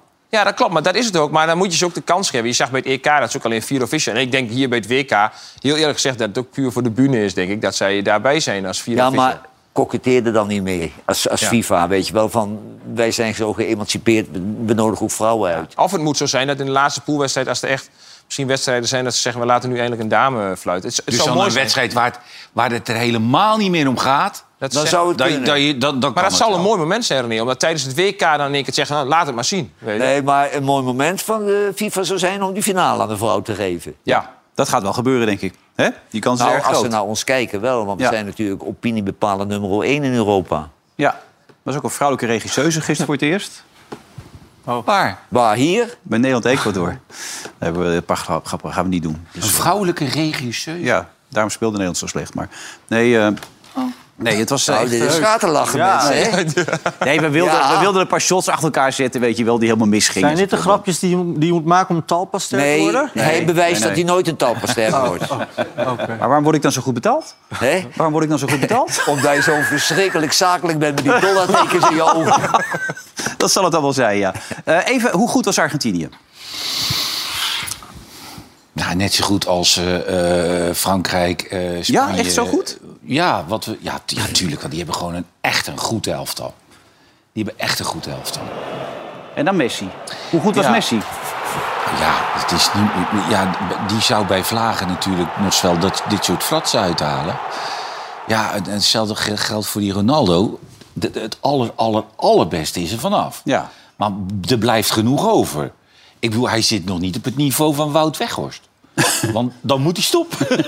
[LAUGHS] Ja, dat klopt, maar dat is het ook. Maar dan moet je ze ook de kans geven. Je zag bij het EK dat ze ook alleen vier official. En ik denk hier bij het WK, heel eerlijk gezegd, dat het ook puur voor de bühne is, denk ik. Dat zij daarbij zijn als vier Ja, official. maar koketteer er dan niet mee. Als, als Ja. FIFA, weet je wel, van... wij zijn zo geëmancipeerd, we- we nodigen ook vrouwen uit. Of het moet zo zijn dat in de laatste poolwedstrijd, als er echt misschien wedstrijden zijn dat ze zeggen... we laten nu eindelijk een dame fluiten. Het, Dus dan een wedstrijd waar het, waar het er helemaal niet meer om gaat... Dat dan zegt- zou het kunnen. maar dat het zal een mooi moment zijn, René. Omdat tijdens het WK dan in één keer zeggen, nou, laat het maar zien. Nee, maar een mooi moment van de FIFA zou zijn om die finale aan een vrouw te geven. Ja, dat gaat wel gebeuren, denk ik. Hè? Die kans is Nou, erg als ze groot. naar ons kijken wel, want we Ja. zijn natuurlijk opiniebepalen nummer 1 in Europa. Ja, was ook een vrouwelijke regisseuse gisteren voor het eerst. Waar? Waar, hier? Bij [LAUGHS] Nederland-Ecuador. Daar hebben we een paar grap- grappen, gaan we niet doen. Oh, Dus, Een vrouwelijke regisseur. ja, daarom speelde Nederland zo slecht. Maar nee, eh, nee het was eh, Nou, echt... dit is heus. schaterlachen, mensen, hè? Nee, we wilden, Ja. we wilden een paar shots achter elkaar zetten, weet je wel, die helemaal misgingen. Zijn dit de grapjes die je, die je moet maken om talpas te Nee, worden? nee, hij bewijst Nee, Oh. nee. dat hij nooit een talpasterker wordt. Maar waarom word ik dan zo goed betaald? Hè? Waarom word ik dan zo goed betaald? Omdat je zo verschrikkelijk zakelijk bent met die dollartekens in je ogen. [LAUGHS] Dat zal het dan wel zijn, ja. Eh, even, hoe goed was Argentinië? Nou, net zo goed als eh, eh, Frankrijk, eh, Spanje. echt zo goed? Ja, wat we, ja, tu- ja, tuurlijk. Want die hebben gewoon een, echt een goed elftal. Die hebben echt een goed elftal. En dan Messi. Hoe goed was Ja. Messi? Ja, het is niet, ja, die zou bij Vlagen natuurlijk nog wel dat, dit soort fratsen uithalen. Ja, en hetzelfde gel- geldt voor die Ronaldo. De- de- het aller, aller, allerbeste is er vanaf. Ja. Maar er blijft genoeg over. Ik bedoel, hij zit nog niet op het niveau van Wout [LAUGHS] Weghorst. Want dan moet hij stoppen.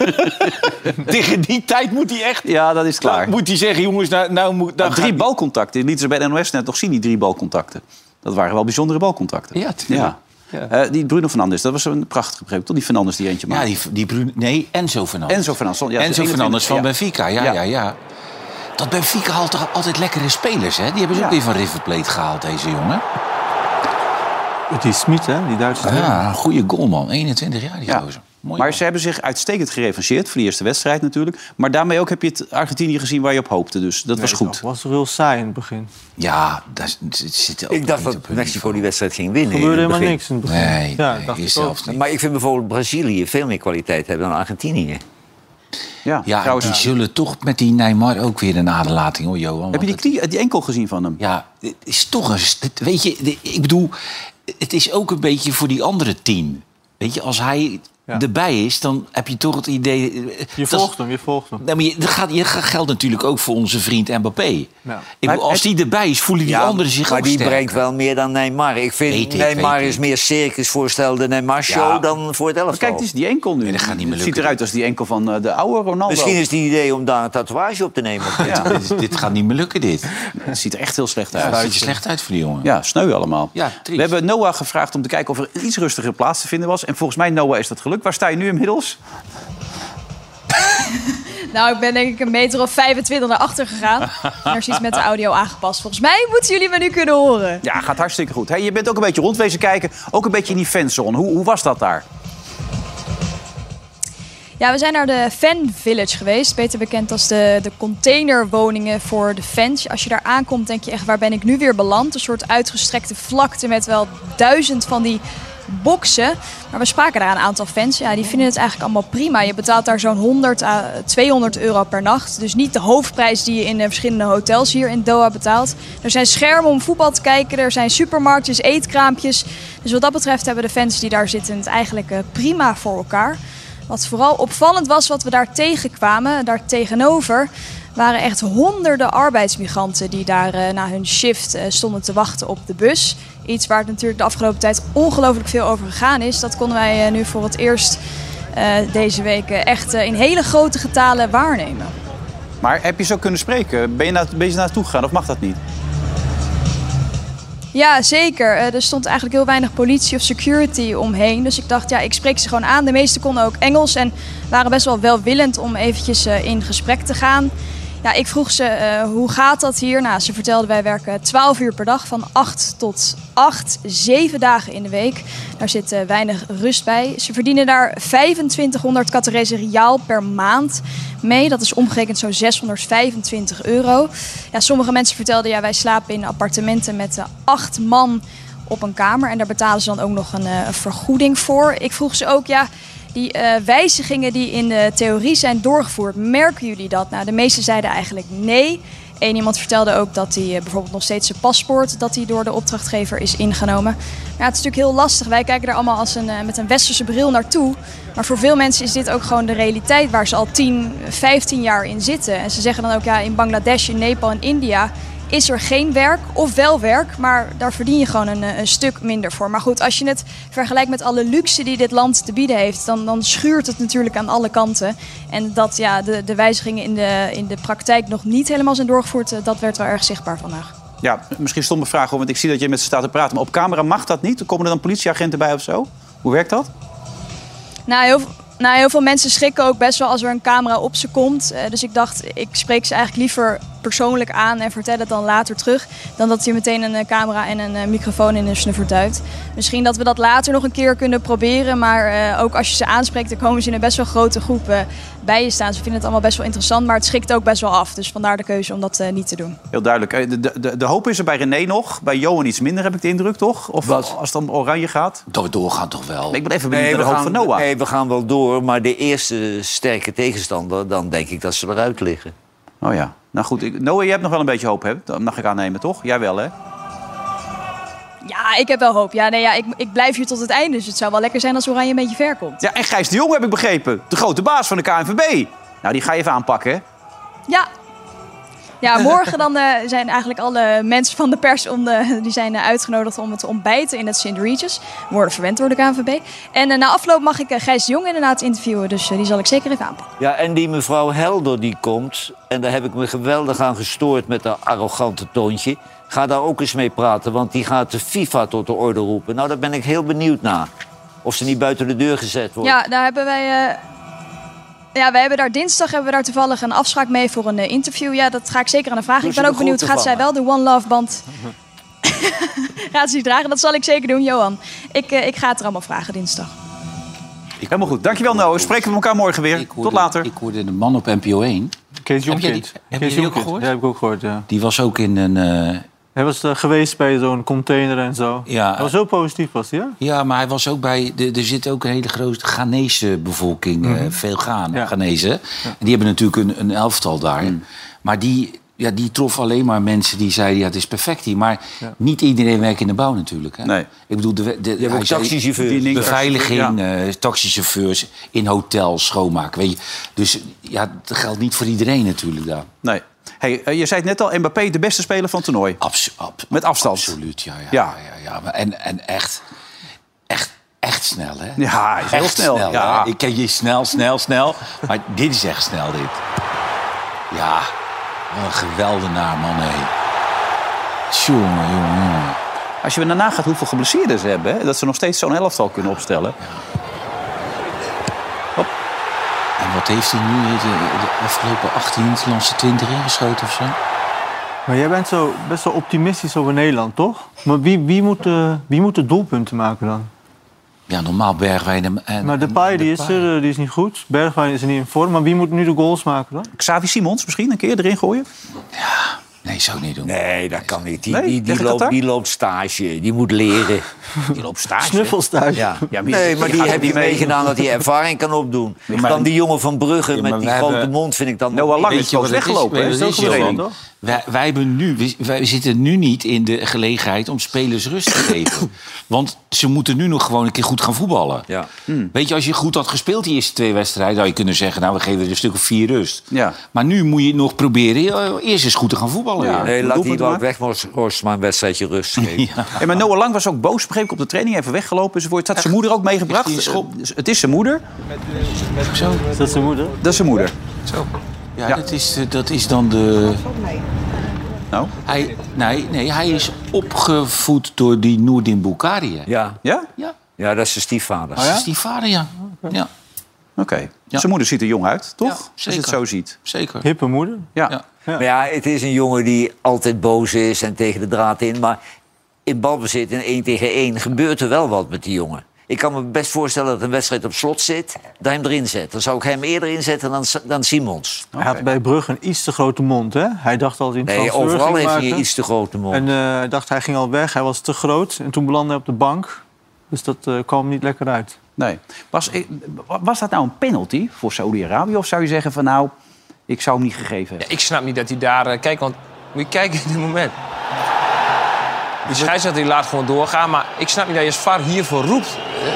Tegen die tijd moet hij echt... Ja, dat is klaar. Moet hij zeggen, jongens, nou, nou moet... Nou Nou, drie balcontacten. Die lieten ze bij de NOS net nog zien, die drie balcontacten. Dat waren wel bijzondere balcontacten. Ja, tuurlijk. Ja. Eh, die Bruno Fernandes, dat was een prachtige greep. Toch die Fernandes die eentje Ja, maakte. die, die Bruno... Nee, Enzo Fernandes. Nou. Enzo Fernandes. Ja, Enzo 21, Fernandes van ja. Benfica, ja, ja, Ja. ja. Dat Benfica haalt toch altijd lekkere spelers, hè? Die hebben ze ook Ja. weer van River Plate gehaald, deze jongen. Die Smit, hè? Die Duitse. Ja, een goede goalman. 21 jaar, die Ja. gozer. Mooi Maar ze hebben zich uitstekend gerevancheerd voor de eerste wedstrijd natuurlijk. Maar daarmee ook heb je het Argentinië gezien waar je op hoopte. Dus dat was goed. was heel saai in het begin. Ja, daar z- z- zitten ook Ik dacht niet dat op hun Mexico die wedstrijd ging winnen. Er gebeurde in het helemaal niks begin. in het begin. Nee, ja, nee, dacht ik is ook. zelfs niet. Maar ik vind bijvoorbeeld Brazilië veel meer kwaliteit hebben dan Argentinië. Ja, Ja, trouwens. die zullen toch met die Neymar ook weer een aderlating, hoor, Johan. Heb Want je die, knie- die enkel gezien van hem? Ja, het is toch een. het- Weet je, de- ik bedoel, het is ook een beetje voor die andere tien. Weet je, als hij erbij is, dan heb je toch het idee. eh, Je volgt hem, je volgt hem. Nou, maar je, dat gaat, je gaat- geldt natuurlijk ook voor onze vriend Mbappé. Ik bedoel, als die erbij is, voelen die Ja, anderen zich maar ook die sterker. brengt wel meer dan Neymar. Ik vind Weet ik, Neymar weet is meer circusvoorstel de Neymar-show Ja. dan voor het oh, elftal. Maar kijk, het is die enkel nu. dat gaat niet meer het ziet lukken. eruit als die enkel van eh, de oude Ronaldo. Misschien is het een idee om daar een tatoeage op te [LAUGHS] nemen. Ja. dit, dit gaat niet meer lukken, dit. Het ziet er echt heel slecht Ja, uit. het ziet er slecht uit voor die jongen. Ja, sneu allemaal. Ja, We triest. hebben Noah gevraagd om te kijken of er een iets rustigere plaats te vinden was. En volgens mij, Noah, is dat gelukt. Waar sta je nu inmiddels? Nou, ik ben denk ik een meter of 25 naar achter gegaan. En er is iets met de audio aangepast. Volgens mij moeten jullie me nu kunnen horen. Ja, gaat hartstikke goed. Hey, je bent ook een beetje rondwezen kijken. Ook een beetje in die fanzone. Hoe, hoe was dat daar? Ja, we zijn naar de Fan Village geweest. Beter bekend als de, de containerwoningen voor de fans. Als je daar aankomt, denk je echt, waar ben ik nu weer beland? Een soort uitgestrekte vlakte met wel duizend van die boksen. Maar we spraken daar een aantal fans. Ja, die vinden het eigenlijk allemaal prima. Je betaalt daar zo'n 100 à 200 euro per nacht. Dus niet de hoofdprijs die je in eh, verschillende hotels hier in Doha betaalt. Er zijn schermen om voetbal te kijken. Er zijn supermarktjes, eetkraampjes. Dus wat dat betreft hebben de fans die daar zitten het eigenlijk eh, prima voor elkaar. Wat vooral opvallend was wat we daar tegenkwamen, daar tegenover, waren echt honderden arbeidsmigranten die daar eh, na hun shift eh, stonden te wachten op de bus. Iets waar het natuurlijk de afgelopen tijd ongelooflijk veel over gegaan is. Dat konden wij eh, nu voor het eerst eh, deze week eh, echt eh, in hele grote getalen waarnemen. Maar heb je zo kunnen spreken? Ben je, na, ben je naartoe gegaan of mag dat niet? Ja, zeker. Eh, er stond eigenlijk heel weinig politie of security omheen. Dus ik dacht, ja, ik spreek ze gewoon aan. De meesten konden ook Engels en waren best wel welwillend om eventjes eh, in gesprek te gaan. Ja, ik vroeg ze, eh, hoe gaat dat hier? Nou, ze vertelden, wij werken 12 uur per dag, van 8 tot 8, 7 dagen in de week. Daar zit eh, weinig rust bij. Ze verdienen daar 2500 Catarese riaal per maand mee. Dat is omgerekend zo'n 625 euro. Ja, sommige mensen vertelden, ja, wij slapen in appartementen met eh, acht man op een kamer. En daar betalen ze dan ook nog een eh, vergoeding voor. Ik vroeg ze ook, ja, die eh, wijzigingen die in de theorie zijn doorgevoerd, merken jullie dat? Nou, de meesten zeiden eigenlijk nee. Eén iemand vertelde ook dat hij eh, bijvoorbeeld nog steeds zijn paspoort... dat hij door de opdrachtgever is ingenomen. Ja, het is natuurlijk heel lastig. Wij kijken er allemaal als een, eh, met een westerse bril naartoe. Maar voor veel mensen is dit ook gewoon de realiteit... waar ze al 10, 15 jaar in zitten. En ze zeggen dan ook, ja, in Bangladesh, in Nepal en India is er geen werk of wel werk, maar daar verdien je gewoon een, eh, een stuk minder voor. Maar goed, als je het vergelijkt met alle luxe die dit land te bieden heeft, dan, dan schuurt het natuurlijk aan alle kanten. En dat ja, de, de wijzigingen in de, in de praktijk nog niet helemaal zijn doorgevoerd, eh, dat werd wel erg zichtbaar vandaag. Ja, misschien een stomme vraag, hoor, want ik zie dat je met ze staat te praten. Maar op camera mag dat niet? Komen er dan politieagenten bij of zo? Hoe werkt dat? Nou, heel, nou, heel veel mensen schrikken ook best wel als er een camera op ze komt. Eh, dus ik dacht, ik spreek ze eigenlijk liever persoonlijk aan en vertel het dan later terug. Dan dat je meteen een eh, camera en een eh, microfoon in hun snuffert duikt. Misschien dat we dat later nog een keer kunnen proberen. Maar eh, ook als je ze aanspreekt, dan komen ze in een best wel grote groep eh, bij je staan. Ze vinden het allemaal best wel interessant, maar het schikt ook best wel af. Dus vandaar de keuze om dat eh, niet te doen. Heel duidelijk. Eh, De, de, de- de hoop is er bij René nog. Bij Johan iets minder, heb ik de indruk, toch? Of als het dan oranje gaat? Dat we doorgaan toch wel. Ik ben even benieuwd naar de hoop gaan, van Noah. Nee, we gaan wel door, maar de eerste sterke tegenstander, dan denk ik dat ze eruit liggen. Oh ja. Nou goed, ik, Noah, je hebt nog wel een beetje hoop, hè? Dat mag ik aannemen, toch? Jij wel, hè? Ja, ik heb wel hoop. Ja, nee, ja, ik, ik blijf hier tot het einde. Dus het zou wel lekker zijn als Oranje een beetje ver komt. Ja, en Gijs de Jong heb ik begrepen. De grote baas van de KNVB. Nou, die ga je even aanpakken, hè? Ja. Ja, morgen dan eh, zijn eigenlijk alle mensen van de pers om de, die zijn, eh, uitgenodigd om het ontbijten in het St. Regis. We worden verwend door de KNVB. En eh, na afloop mag ik eh, Gijs de Jong inderdaad interviewen. Dus eh, die zal ik zeker even aanpakken. Ja, en die mevrouw Helder die komt, en daar heb ik me geweldig aan gestoord met haar arrogante toontje. Ga daar ook eens mee praten, want die gaat de FIFA tot de orde roepen. Nou, daar ben ik heel benieuwd naar. Of ze niet buiten de deur gezet wordt. Ja, daar hebben wij. eh, ja, wij hebben daar dinsdag hebben we daar toevallig een afspraak mee voor een eh, interview. Ja, dat ga ik zeker aan haar vragen. Doe Ik ze ben ook de benieuwd, groeten gaat zij van wel de One Love band [LAUGHS] gaat ze die dragen? Dat zal ik zeker doen, Johan. Ik, eh, ik ga het er allemaal vragen dinsdag. Helemaal goed. Dankjewel, Noah. Spreken we elkaar morgen weer. Tot later. Ik hoorde de man op NPO 1. Kees Heb jij die- Jonkind. Heb je die ook gehoord? Dat heb ik ook gehoord, ja. Die was ook in een... eh, Hij was eh, geweest bij zo'n container en zo. Ja. Hij was heel positief, was hij, hè? Ja, maar hij was ook bij. de- Er zit ook een hele grote Ghanese bevolking. eh, veel Gaan, Ghanezen. En die hebben natuurlijk een, een elftal daar. Maar die, ja, die trof alleen maar mensen die zeiden: ja, het is perfect hier. Maar niet iedereen werkt in de bouw natuurlijk. Hè? Nee. Ik bedoel, de, de, hebt ook hij zei- taxichauffeurs. bediening, Beveiliging, taxichauffeurs, eh, taxichauffeurs in hotels, schoonmaken. Weet je. Dus ja, dat geldt niet voor iedereen natuurlijk daar. Nee. Hey, eh, je zei het net al, Mbappé de beste speler van het toernooi. Met afstand. Absoluut, ja. ja, Ja. ja. ja, maar En, en echt, echt, echt snel, hè? Ja, hij is heel echt snel, ja. hè? Ik ken je snel, snel, snel. Maar dit is echt snel, dit. Ja, wat een geweldenaar, man, hé. Tjonge, jonge, jonge. Als je weer daarna gaat hoeveel geblesseerden ze hebben... Hè, dat ze nog steeds zo'n elftal kunnen opstellen. En wat heeft hij nu eh, de, de afgelopen 18 Nederlandse 20 ingeschoten of zo? Maar jij bent zo, best wel optimistisch over Nederland, toch? Maar wie, wie, moet, eh, wie moet de doelpunten maken dan? Ja, normaal Bergwijn en... en maar Nou, Depay, die is, er, eh, die is niet goed. Bergwijn is er niet in vorm. Maar wie moet nu de goals maken dan? Xavi Simons misschien een keer erin gooien? Nee, zou ik niet doen. Nee, dat kan niet. Die, Nee? die, Leg die, ik dat loopt, daar? die loopt stage, die moet leren. Die loopt stage. Snuffelstage. Ja, ja nee, maar die gaat er heb je niet mee. meegedaan dat hij ervaring kan opdoen. Ja, maar- dan die jongen van Brugge Ja, maar met die wij grote hebben- mond vind ik dan... Noah Lang Weet is je wat boos het is? weggelopen. hè? Weet Dat je is wat ook het is, getraind. Johan? Wij, wij, hebben nu, wij- wij zitten nu niet in de gelegenheid om spelers rust te [COUGHS] geven. Want ze moeten nu nog gewoon een keer goed gaan voetballen. Ja. Hmm. Weet je, als je goed had gespeeld die eerste twee wedstrijden... zou je kunnen zeggen, nou, we geven er een stuk of vier rust. Ja. Maar nu moet je nog proberen eh, eerst eens goed te gaan voetballen. weer. nee, laat die doelpunten Wout Weghorst maar een wedstrijdje rust geven. En maar Noah Lang was ook boos, begreep ik, op de training. Even weggelopen. Ze wordt, had zijn moeder ook meegebracht. Heeft hij een Eh, Het is zijn moeder. Zo. Is dat zijn moeder? Dat is zijn moeder. Zo. Ja, Dat, is, eh, dat is dan de... Nou? Hij, nee, nee, hij is opgevoed door die Noordin Bukari. hè? Ja. Ja? Oh Ja. ja, dat is zijn stiefvader. Dat is die vader, ja. ja. Oké. Zijn moeder ziet er jong uit, toch? Ja, Als je zeker. het zo ziet. Zeker. Hippe moeder? Ja. Maar ja, het is een jongen die altijd boos is en tegen de draad in. Maar in balbezit in 1 tegen 1 gebeurt er wel wat met die jongen. Ik kan me best voorstellen dat een wedstrijd op slot zit, dat hij hem erin zet. Dan zou ik hem eerder inzetten dan, S- dan Simons. Hij had bij Brugge een iets te grote mond, hè? Hij dacht al in Nee, overal heeft hij een iets te grote mond. En eh, hij dacht, hij ging al weg. Hij was te groot. En toen belandde hij op de bank. Dus dat eh, kwam niet lekker uit. eh, Nee. Was, was dat nou een penalty voor Saudi-Arabië? Of zou je zeggen van nou, Ik zou hem niet gegeven hebben. Ik snap niet dat hij daar... eh, kijk, want moet je kijken in dit moment. Die scheidsrechter die laat gewoon doorgaan. Maar ik snap niet dat je als VAR hiervoor roept. Eh,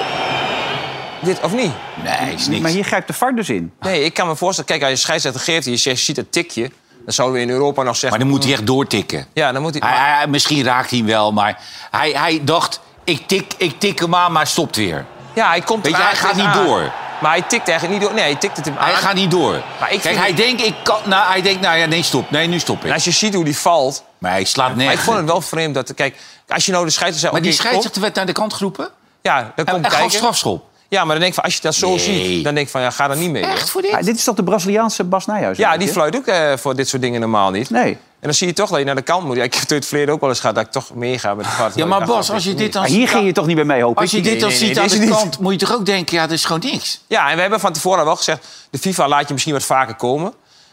dit of niet? Nee, is Maar hier grijpt de VAR dus in. Nee, ik kan me voorstellen... Kijk, als je scheidsrechter geeft en je zegt, ziet het tikje... dan zouden we in Europa nog zeggen... Maar dan moet hij echt doortikken. Ja, dan moet hij... Hij, hij- misschien raakt hij hem wel, maar hij, hij dacht... Ik tik, ik tik hem aan, maar hij stopt weer. Ja, hij komt Weet je, eraan, hij gaat tikt niet aan. door. Maar hij tikt eigenlijk niet door. Nee, hij tikt het hem Hij aan. gaat niet door. Ah. Maar ik Kijk, vind- hij denkt, ik kan, nou, hij denkt, nou ja, nee, stop. Nee, nu stop ik. als je ziet hoe die valt... Maar hij slaat Maar ik nergens. vond het wel vreemd dat... Kijk, als je nou de scheidsrechter... Maar zegt, die oké, scheidsrechter werd naar de kant geroepen? kom. Ja, dan Hij- komt hij gaf kijken. strafschop. Ja, maar dan denk ik van, als je dat zo ziet... dan denk ik van, ja, ga er niet mee. hoor. Ah, dit is toch de Braziliaanse Bas Nijhuis? Ja, die fluit ook eh, voor dit soort dingen normaal niet. Nee. Ah, En dan zie je toch dat je naar de kant moet. Ja, ik heb het in het verleden ook wel eens gehad dat ik toch meega met de vaart. Ja, maar Bas, als je dit dan Maar hier ziet... ging je toch niet bij mee, hoop ik? Als je dit dan nee, ziet nee, aan deze de niet. kant, moet je toch ook denken, ja, dat is gewoon niks. Ja, en we hebben van tevoren wel gezegd... de FIFA laat je misschien wat vaker komen.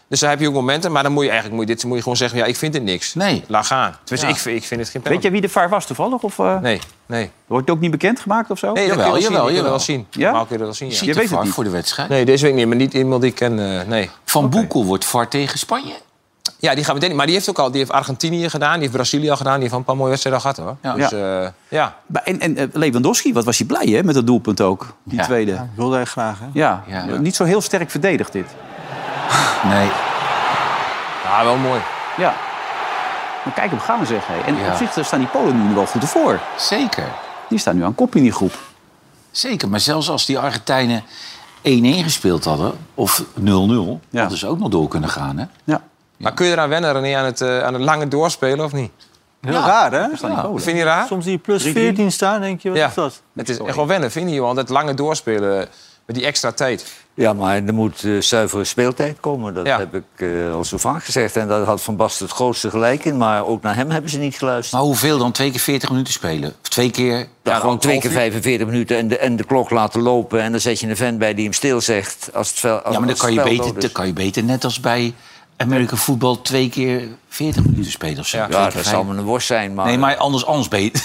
Dus dan heb je ook momenten. Maar dan moet je eigenlijk moet je dit, moet je gewoon zeggen... ja, ik vind het niks. Nee. Laat gaan. Dus Ja. ik, vind- ik vind het geen Weet penalty. je wie de VAR was toevallig? Of, eh, Nee, nee. Wordt het ook niet bekendgemaakt of zo? Nee, dat jawel, kun je wel zien. jawel, Je kunt het jawel. wel zien. Ja? Maar kun je dat wel zien, ja. Ziet Je de weet het VAR niet. voor de wedstrijd? Nee, deze week niet. Maar niet iemand die ik ken. eh, nee. Van Boekel wordt VAR tegen Spanje. Ja, die gaan meteen. Maar die heeft ook al. Die heeft Argentinië gedaan. Die heeft Brazilië al gedaan. Die heeft al een paar mooie wedstrijden al gehad hoor. Ja. Dus eh, ja. Maar En, en eh, Lewandowski, wat was hij blij hè, met dat doelpunt ook, die tweede. Ja, Ik wilde echt graag, hè? Ja. niet zo heel sterk verdedigd dit. Nee. Ja, Ah, wel mooi. Ja. Maar kijk hem gaan zeg. Hé. En Ja. op zich daar staan die Polen nu wel goed ervoor. Zeker. Die staan nu aan kop in die groep. Zeker, maar zelfs als die Argentijnen 1-1 gespeeld hadden, of 0-0, hadden ze ook nog door kunnen gaan. Hè? Maar kun je eraan wennen, René, aan het, eh, aan het lange doorspelen of niet? Heel Ja. raar, hè? die Polen. Vind je raar? Soms zie je plus 14 staan, denk je, wat Ja. is dat? Het is echt wel wennen, vind je, Johan? Dat lange doorspelen eh, met die extra tijd. Ja, maar er moet eh, zuivere speeltijd komen. Dat Ja. heb ik eh, al zo vaak gezegd. En daar had Van Basten het grootste gelijk in. Maar ook naar hem hebben ze niet geluisterd. Maar hoeveel dan? Twee keer 40 minuten spelen? Of twee keer? Ja, gewoon twee half keer uur? 45 minuten en de, en de klok laten lopen. En dan zet je een vent bij die hem stil zegt. Als het vel, als, Ja, maar dan als kan, je het spel beter, dood dan is. kan je beter net als bij American Football twee keer 40 minuten spelen of zo. Twee Ja, keer dat vijf. zal me een worst zijn. Maar, Nee, maar anders, [LAUGHS] anders beter.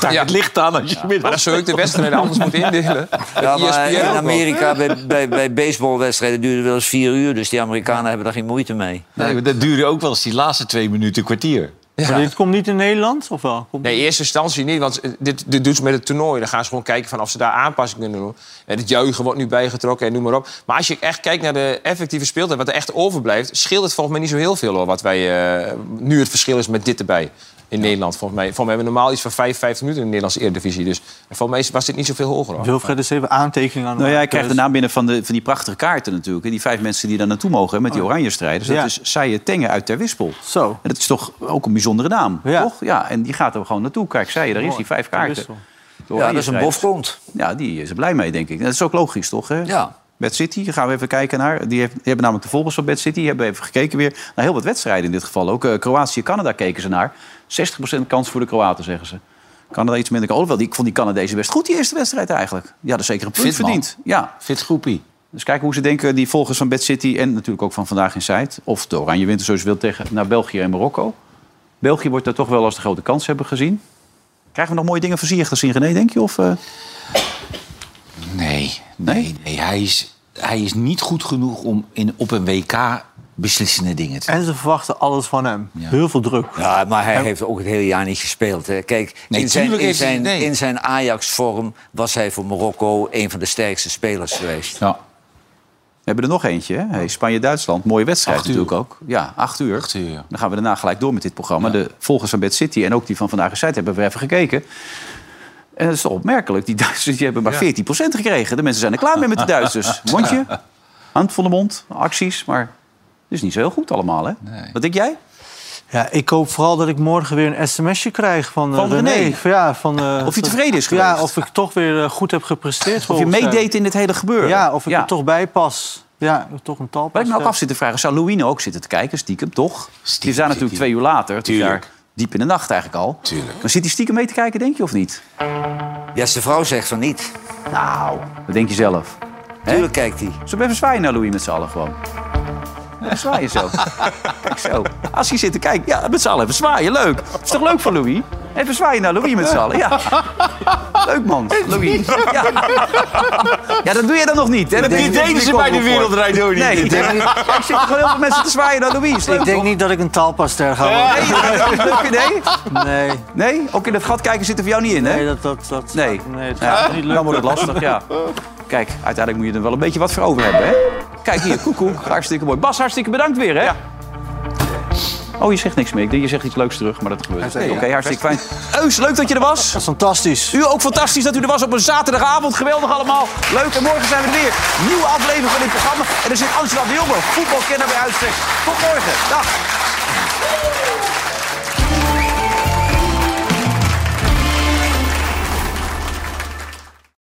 Daar Ja. het licht aan als je Maar dan middag... zou ik de wedstrijden anders moeten indelen. Ja, Met E maar ESPN ook in wel. Amerika bij, bij, bij baseballwedstrijden duurde het wel eens vier uur. Dus die Amerikanen hebben daar geen moeite mee. Nee, maar dat duurde ook wel eens die laatste twee minuten, kwartier. Maar dit komt niet in Nederland, of wel? Komt Nee, in eerste instantie niet, want eh, dit, dit doen ze met het toernooi. Dan gaan ze gewoon kijken van of ze daar aanpassingen kunnen doen. En het juichen wordt nu bijgetrokken en noem maar op. Maar als je echt kijkt naar de effectieve speeltijd, wat er echt overblijft... scheelt het volgens mij niet zo heel veel, hoor, wat wij... eh, nu het verschil is met dit erbij in Nederland, volgens mij. Volgens mij hebben we normaal iets van 55 minuten in de Nederlandse Eredivisie. Dus volgens mij is- was dit niet zoveel hoger, hoor. Wilfred is even aantekeningen aan Nou ja, ik maken, krijg de dus- naam binnen van, de, van die prachtige kaarten natuurlijk. En die vijf mensen die daar naartoe mogen hè, met die oranje strijders. Dat Ja. is Saye Tenge uit Ter Wispel. Zo. En dat is toch ook een bijzondere naam, Ja. toch? Ja, en die gaat er gewoon naartoe. Kijk, Saye, daar is die vijf kaarten. Wissel. De Ja, dat is een Oranjestrijders. bofkont. Ja, die is er blij mee, denk ik. En Dat is ook logisch, toch? Hè? Ja. Bad City, daar gaan we even kijken naar. Die, heeft, die hebben namelijk de volgers van Bad City. Die hebben even gekeken weer naar heel wat wedstrijden in dit geval. Ook eh, Kroatië en Canada keken ze naar. 60% kans voor de Kroaten, zeggen ze. Canada iets minder. Alhoewel, die, ik vond die Canadezen best goed, die eerste wedstrijd eigenlijk. Ja, dat is zeker een punt Fit man. verdiend. Ja. Fit groepie. Dus kijken hoe ze denken, die volgers van Bad City... en natuurlijk ook van Vandaag in Zuid. Of de Oranje Winter, zoals je wilt, tegen, naar België en Marokko. België wordt daar toch wel als de grote kans hebben gezien. Krijgen we nog mooie dingen van Ziyech te zien, René, denk je? Of, eh? Nee, nee, nee. Hij is, hij is niet goed genoeg om in, op een WK beslissende dingen te En ze verwachten alles van hem. Heel veel druk. Ja, maar hij heeft ook het hele jaar niet gespeeld. Hè. Kijk, Nee, in, zijn, tuurlijk in, heeft hij- zijn, nee. in zijn Ajax-vorm was hij voor Marokko een van de sterkste spelers geweest. Ja, We hebben er nog eentje, hè? Hey, Spanje-Duitsland. Mooie wedstrijd Acht uur. natuurlijk ook. Ja, acht uur. acht uur. Dan gaan we daarna gelijk door met dit programma. De volgers van Bad City en ook die van Vandaag Gezet hebben we even gekeken. En dat is toch opmerkelijk. Die [LAUGHS] Duitsers die hebben maar 14% gekregen. De mensen zijn er klaar mee met de Duitsers. Mondje, hand van de mond, acties. Maar het is niet zo heel goed allemaal, hè? Wat denk jij? Ja, ik hoop vooral dat ik morgen weer een sms'je krijg van, eh, Van René. Van, ja, van, eh, Of hij tevreden is geweest. Ja, of ik toch weer eh, goed heb gepresteerd. Of je volgens hem. meedeed in dit hele gebeuren. Ja, of ik Ja. er toch bij pas. Ja, toch een tal Wat ik me ook pas af zit te vragen, zou Louine ook zitten te kijken, stiekem, toch? die is zit daar natuurlijk hier. twee uur later, het is Tuurlijk. daar diep in de nacht eigenlijk al. Tuurlijk. Maar zit hij stiekem mee te kijken, denk je, of niet? Ja, zijn vrouw zegt van niet. Nou, dat denk je zelf. Tuurlijk kijkt hij. Zullen we even zwaaien naar Louis met z'n allen gewoon? Even zwaaien zo. Kijk zo. Als hij zit te kijken, ja, met z'n allen even zwaaien. Leuk. Is toch leuk voor Louis? Even zwaaien naar Louis met z'n allen. Ja. Leuk man, Louis. Ja. ja, dat doe je dan nog niet. Hè? Dat Die ben je nog deden niet ze bij de gekomen voor. Wereldrijd door niet. Nee, ik denk- ja, ik zit gewoon heel veel mensen te zwaaien naar Louis. Ik denk niet dat ik een taalpaster ga worden. Nee, dat is een leuk idee. Nee. Nee? Ook in dat gat kijken zit er voor jou niet in, hè? Nee, dat, dat, dat Nee, nee, het Ja, gaat niet dan lukken. wordt het lastig, ja. Kijk, uiteindelijk moet je er wel een beetje wat voor over hebben, hè? Kijk hier, koekoek, hartstikke mooi. Bas, hartstikke bedankt weer, hè? Oh, je zegt niks meer. Ik denk, je zegt iets leuks terug, maar dat gebeurt niet. Oké, hartstikke fijn. Eus, leuk dat je er was. Fantastisch. U ook fantastisch dat u er was op een zaterdagavond. Geweldig allemaal. Leuk. En morgen zijn we er weer. Nieuwe aflevering van dit programma. En er zit Angela de Jonge, voetbalkenner bij uitstek. Tot morgen. Dag.